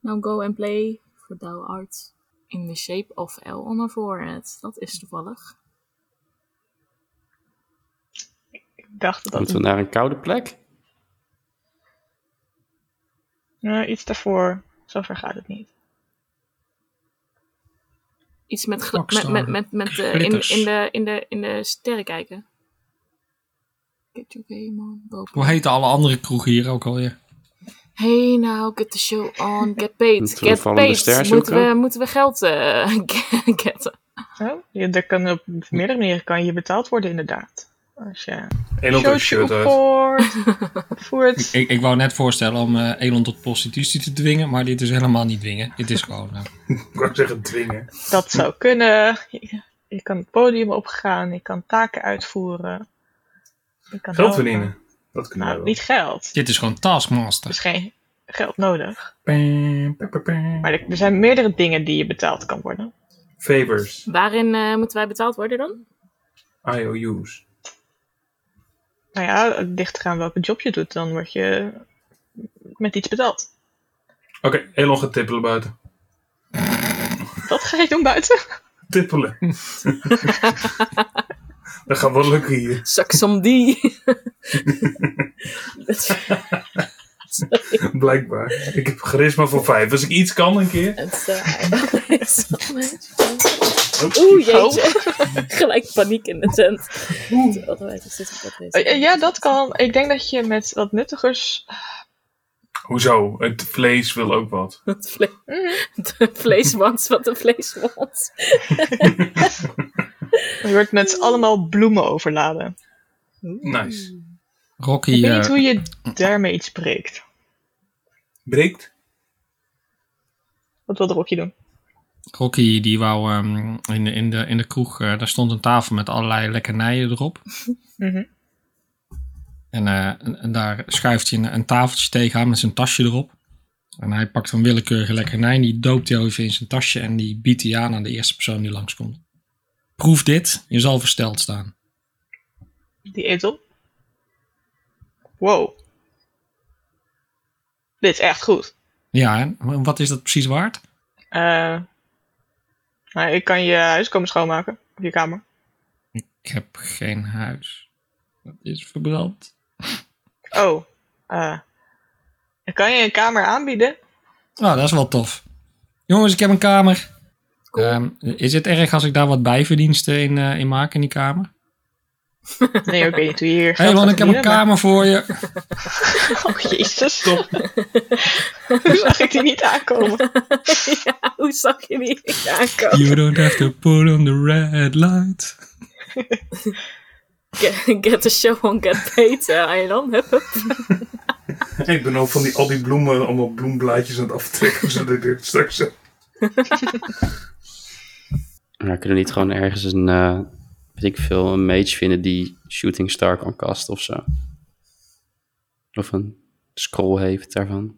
Speaker 4: Now go and play for thou art in the shape of L on her forehead. Dat is toevallig.
Speaker 1: Ik dacht dat
Speaker 3: Moeten
Speaker 1: dat
Speaker 3: we naar een koude plek?
Speaker 1: eh, iets daarvoor. Zover gaat het niet.
Speaker 4: Iets met, gla- met,
Speaker 2: Rockstar.
Speaker 4: met, met, met eh, in,
Speaker 2: Glitters.
Speaker 4: in, de, in, de, in de sterren kijken. Get your game on, go
Speaker 2: Hoe
Speaker 4: play.
Speaker 2: heten alle andere kroegen hier ook alweer?
Speaker 4: Hey now, get the show on, get paid,
Speaker 3: Moeten we
Speaker 4: get
Speaker 3: vallende ster
Speaker 4: paid. Moeten we,
Speaker 3: zoeken?
Speaker 4: moeten we geld eh, getten?
Speaker 1: Oh, je, er kan op meerdere manieren kan je betaald worden, inderdaad. Als je
Speaker 5: Elon doet shirt uit.
Speaker 1: opvoert,
Speaker 2: Ik,
Speaker 1: opvoert.
Speaker 2: ik, ik wou net voorstellen om eh, Elon tot prostitutie te dwingen, maar dit is helemaal niet dwingen. Dit is gewoon... eh,
Speaker 5: Ik wou zeggen dwingen.
Speaker 1: Dat zou kunnen. Je, je kan het podium opgaan, je kan taken uitvoeren. Je kan
Speaker 5: Geld
Speaker 1: helpen.
Speaker 5: verdienen. Dat kunnen
Speaker 1: Nou,
Speaker 5: we
Speaker 1: niet geld.
Speaker 2: dit is gewoon
Speaker 1: Er is
Speaker 2: Taskmaster.
Speaker 1: geen geld nodig.
Speaker 5: Pam, pam, pam, pam.
Speaker 1: Maar er, er zijn meerdere dingen die je betaald kan worden.
Speaker 5: Favors.
Speaker 4: Waarin eh, moeten wij betaald worden dan?
Speaker 5: IOU's.
Speaker 1: Nou ja, het ligt eraan welke job je doet, dan word je met iets betaald.
Speaker 5: Oké, Elon gaat tippelen buiten.
Speaker 1: Dat ga je doen buiten.
Speaker 5: Tippelen. Dat gaat wel lukken hier.
Speaker 4: Suck some D. Dat-
Speaker 5: Blijkbaar. Ik heb charisma voor vijf. Als ik iets kan een keer.
Speaker 4: Het, eh, is wel mijn schuld. Oeh, jeetje. Gelijk paniek in de tent. Wat een wijze zit op dat
Speaker 1: Eh,
Speaker 4: deze.
Speaker 1: Ja, dat kan. Ik denk dat je met wat nuttigers
Speaker 5: Hoezo? Het vlees wil ook wat.
Speaker 4: Het vle-
Speaker 1: Mhm.
Speaker 4: de vleeswans van de vleeswans.
Speaker 1: Je wordt met z'n allemaal bloemen overladen.
Speaker 5: Nice.
Speaker 2: Rocky,
Speaker 1: Ik weet
Speaker 2: eh,
Speaker 1: niet hoe je daarmee iets breekt.
Speaker 5: Breekt?
Speaker 1: Wat wil Rocky doen?
Speaker 2: Rocky die wou ehm, in, de, in, de, in de kroeg, eh, daar stond een tafel met allerlei lekkernijen erop.
Speaker 1: Mhm.
Speaker 2: En, eh, en, en daar schuift hij een, een tafeltje tegenaan met zijn tasje erop. En hij pakt een willekeurige lekkernij, die doopt hij even in zijn tasje en die biedt hij aan aan de eerste persoon die langskomt. Proef dit, je zal versteld staan.
Speaker 1: Die eet op. Wow. Dit is echt goed.
Speaker 2: Ja, en w- wat is dat precies waard?
Speaker 1: Eh, nou, ik kan je huis komen schoonmaken. Of je kamer.
Speaker 2: Ik heb geen huis. Dat is verbrand.
Speaker 1: Oh. eh, ik kan je een kamer aanbieden.
Speaker 2: Nou, dat is wel tof. Jongens, ik heb een kamer.
Speaker 4: Cool.
Speaker 2: Ehm, is het erg als ik daar wat bijverdiensten in, eh, in maak in die kamer?
Speaker 1: Nee, ik weet niet hoe je hier
Speaker 2: Hé,
Speaker 1: geld
Speaker 2: hey, want
Speaker 1: gaat
Speaker 2: ik heb een
Speaker 1: verdienen,
Speaker 2: kamer voor je.
Speaker 1: maar- Oh, jezus.
Speaker 5: Top.
Speaker 1: Hoe zag ik die niet aankomen?
Speaker 4: ja, hoe zag je die aankomen?
Speaker 2: You don't have to put on the red light.
Speaker 4: Get, get the show on, get paid, eh, Aylan. Hup, hup.
Speaker 5: Ik ben ook van die, al die bloemen, allemaal bloemblaadjes aan het aftrekken, zodat ik straks heb.
Speaker 3: Maar kunnen we niet gewoon ergens een, eh, weet ik veel, een mage vinden die Shooting Star kan casten of zo? Of een scroll heeft daarvan?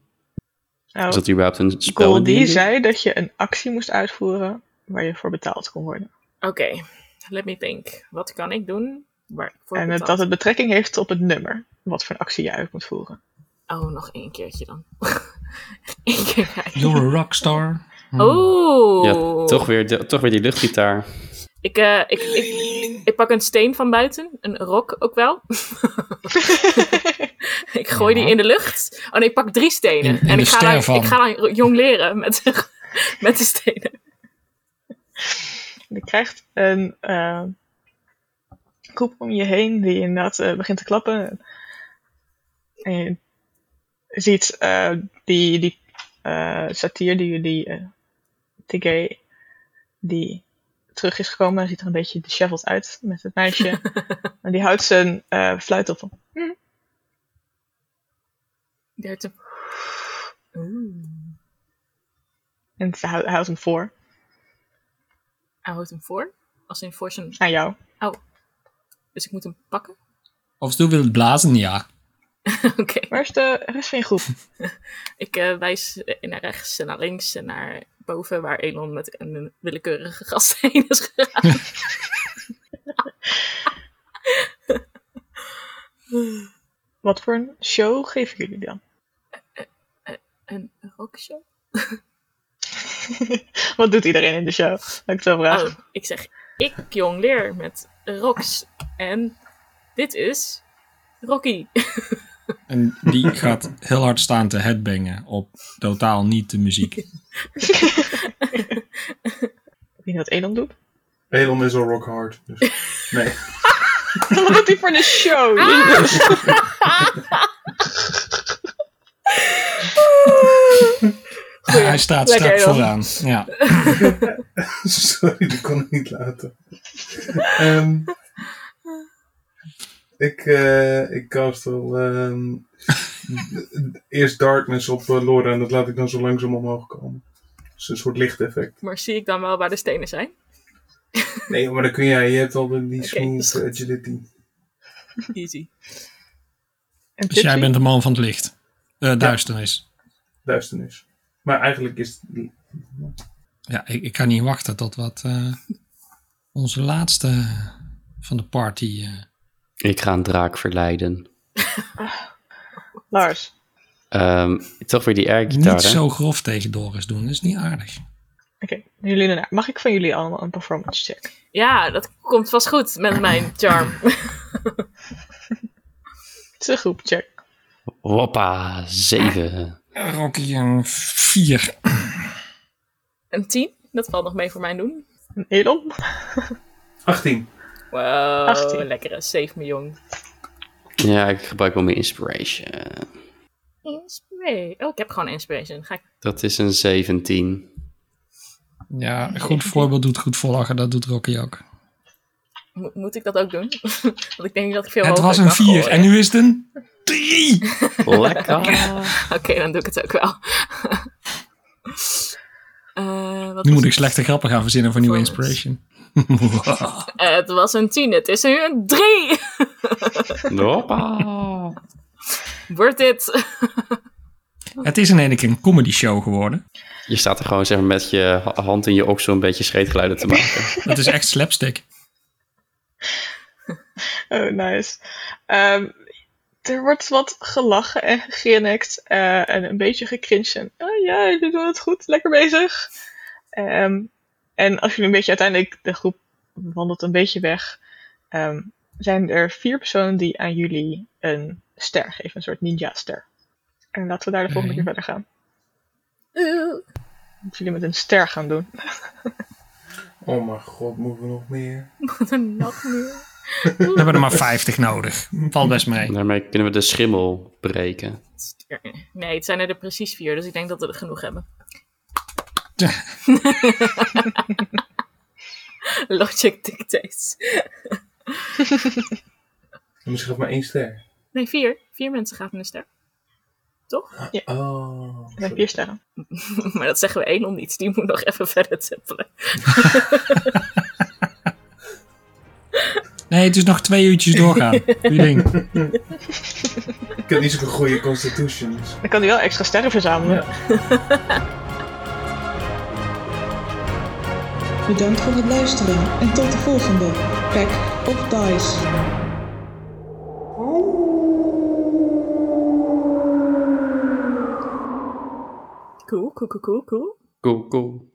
Speaker 1: Nou,
Speaker 3: Is dat überhaupt een spel?
Speaker 1: Goldie
Speaker 3: die je doet?
Speaker 1: zei dat je een actie moest uitvoeren waar je voor betaald kon worden.
Speaker 4: Oké, let me think. Wat kan ik doen? Waar ik voor
Speaker 1: en het-
Speaker 4: betaald-
Speaker 1: dat het betrekking heeft op het nummer. Wat voor een actie je uit moet voeren.
Speaker 4: Oh, nog één keertje dan. Eén keer kijken.
Speaker 2: You're a rockstar.
Speaker 4: Oh!
Speaker 3: Ja, toch weer, de- toch weer die luchtgitaar.
Speaker 4: Ik, eh, ik, ik, ik pak een steen van buiten, een rok ook wel. ik gooi die in de lucht. Oh nee, ik pak drie stenen.
Speaker 2: In- in
Speaker 4: en
Speaker 2: de
Speaker 4: ik ga,
Speaker 2: ster
Speaker 4: dan,
Speaker 2: van.
Speaker 4: ik ga dan jong leren met, met de stenen.
Speaker 1: Je krijgt een eh, groep om je heen die inderdaad eh, begint te klappen. En je ziet eh, die, die eh satir, die, die eh Tigay, die terug is gekomen. Hij ziet er een beetje disheveled uit met het meisje. en die houdt zijn eh, fluit op.
Speaker 4: Dertig. Oeh,
Speaker 1: En ze hou- hij houdt hem voor
Speaker 4: hij houdt hem voor. Als in voor zijn...
Speaker 1: aan jou.
Speaker 4: Dus ik moet hem pakken?
Speaker 2: Of doe wil het blazen? Ja.
Speaker 4: Oké.
Speaker 1: Waar is de rest van je groep?
Speaker 4: Ik eh, wijs eh, naar rechts en naar links en naar boven waar Elon met een willekeurige gast heen is gegaan.
Speaker 1: Wat voor een show geven jullie dan?
Speaker 4: Een rockshow?
Speaker 1: Wat doet iedereen in de show? Laat ik het zo vragen.
Speaker 4: Oh, ik zeg ik jong leer met Rox. En dit is Rocky.
Speaker 2: En die gaat heel hard staan te headbangen op totaal niet de muziek.
Speaker 1: Ik weet niet wat Elon doet.
Speaker 5: Elon is al rock hard. Dus. Nee.
Speaker 1: Wat doet hij voor de show?
Speaker 2: Hij staat strak
Speaker 4: Lekker, joh.
Speaker 2: vooraan. Ja.
Speaker 5: Sorry, dat kon ik niet laten. Ehm, ik, eh ik cast al ehm, eerst darkness op eh, Laura en dat laat ik dan zo langzaam omhoog komen. Dus een soort lichteffect.
Speaker 4: Maar zie ik dan wel waar de stenen zijn?
Speaker 5: Nee, maar dan kun jij, je hebt al die die smooth
Speaker 4: is goed.
Speaker 5: agility.
Speaker 4: Easy.
Speaker 1: En
Speaker 2: Dus jij
Speaker 1: Tipsy?
Speaker 2: bent de man van het licht. Eh, duisternis.
Speaker 5: Duisternis. Maar eigenlijk is het
Speaker 2: Ja, ik, ik kan niet wachten tot wat eh, onze laatste van de party. eh,
Speaker 3: Ik ga een draak verleiden.
Speaker 1: Lars,
Speaker 3: Ehm, toch weer die airgitaar,
Speaker 2: niet
Speaker 3: hè?
Speaker 2: zo grof tegen Doris doen. Dat is niet aardig.
Speaker 1: oké, jullie daarna. Mag ik van jullie allemaal een performance check?
Speaker 4: Ja, dat komt vast goed met mijn charm.
Speaker 1: Het is een groep check.
Speaker 3: Hoppa, zeven.
Speaker 2: Rocky een 4.
Speaker 4: Een 10, dat valt nog mee voor mijn doen.
Speaker 1: En Elon?
Speaker 5: 18.
Speaker 4: Wow,
Speaker 1: 18.
Speaker 4: lekkere, save me jong.
Speaker 3: Ja, ik gebruik wel meer inspiration.
Speaker 4: Inspiration. Oh, ik heb gewoon inspiration. Ga ik...
Speaker 3: Dat is een 17.
Speaker 2: Ja, goed voorbeeld doet goed volgen. Dat doet Rocky ook.
Speaker 4: Mo- moet ik dat ook doen? Want ik denk dat ik veel
Speaker 2: Het
Speaker 4: hoger
Speaker 2: was een
Speaker 4: kan
Speaker 2: 4
Speaker 4: gooien.
Speaker 2: en nu is het een 3.
Speaker 3: Lekker.
Speaker 4: Oké, dan doe ik het ook wel. Eh, wat
Speaker 2: Nu
Speaker 4: was
Speaker 2: moet ik
Speaker 4: het?
Speaker 2: slechte grappen gaan verzinnen voor nieuwe
Speaker 4: Performance.
Speaker 2: inspiration.
Speaker 4: Eh, het was een 10, het is nu een 3.
Speaker 3: Hoppa.
Speaker 4: Wordt dit?
Speaker 2: Het is in één keer een comedy show geworden.
Speaker 3: Je staat er gewoon zeg maar, met je ha- hand in je oksel een beetje scheetgeluiden te maken.
Speaker 2: Dat is echt slapstick.
Speaker 1: Oh, nice. Ehm, er wordt wat gelachen en gegrinnikt eh, en een beetje gekringed. En, oh ja, jullie doen het goed, lekker bezig. Ehm, en als jullie een beetje uiteindelijk, de groep wandelt een beetje weg, ehm, zijn er vier personen die aan jullie een ster geven, een soort ninja-ster. En laten we daar de volgende
Speaker 2: Oké.
Speaker 1: keer verder gaan. Moeten jullie met een ster gaan doen.
Speaker 5: Oh mijn god, moeten we nog meer?
Speaker 4: Nog meer.
Speaker 2: We hebben er maar 50 nodig. Valt best mee.
Speaker 3: Daarmee kunnen we de schimmel breken.
Speaker 4: Nee, het zijn er precies vier, dus ik denk dat we er genoeg hebben. Logic dictates.
Speaker 5: Misschien nog maar één ster.
Speaker 4: Nee, vier. Vier mensen gaven een ster. Toch?
Speaker 5: Oh.
Speaker 1: Er zijn vier sterren.
Speaker 4: Maar dat zeggen we één om niets. Die moet nog even verder tippelen.
Speaker 2: Nee, het is nog twee uurtjes doorgaan. Doe je ding.
Speaker 5: Ik heb niet zo'n goede constitutions.
Speaker 1: Dan kan hij wel extra sterren verzamelen.
Speaker 6: Bedankt voor het luisteren en tot de volgende. Pack of Dice.
Speaker 4: Cool, cool, cool, cool, cool.
Speaker 3: Cool, cool.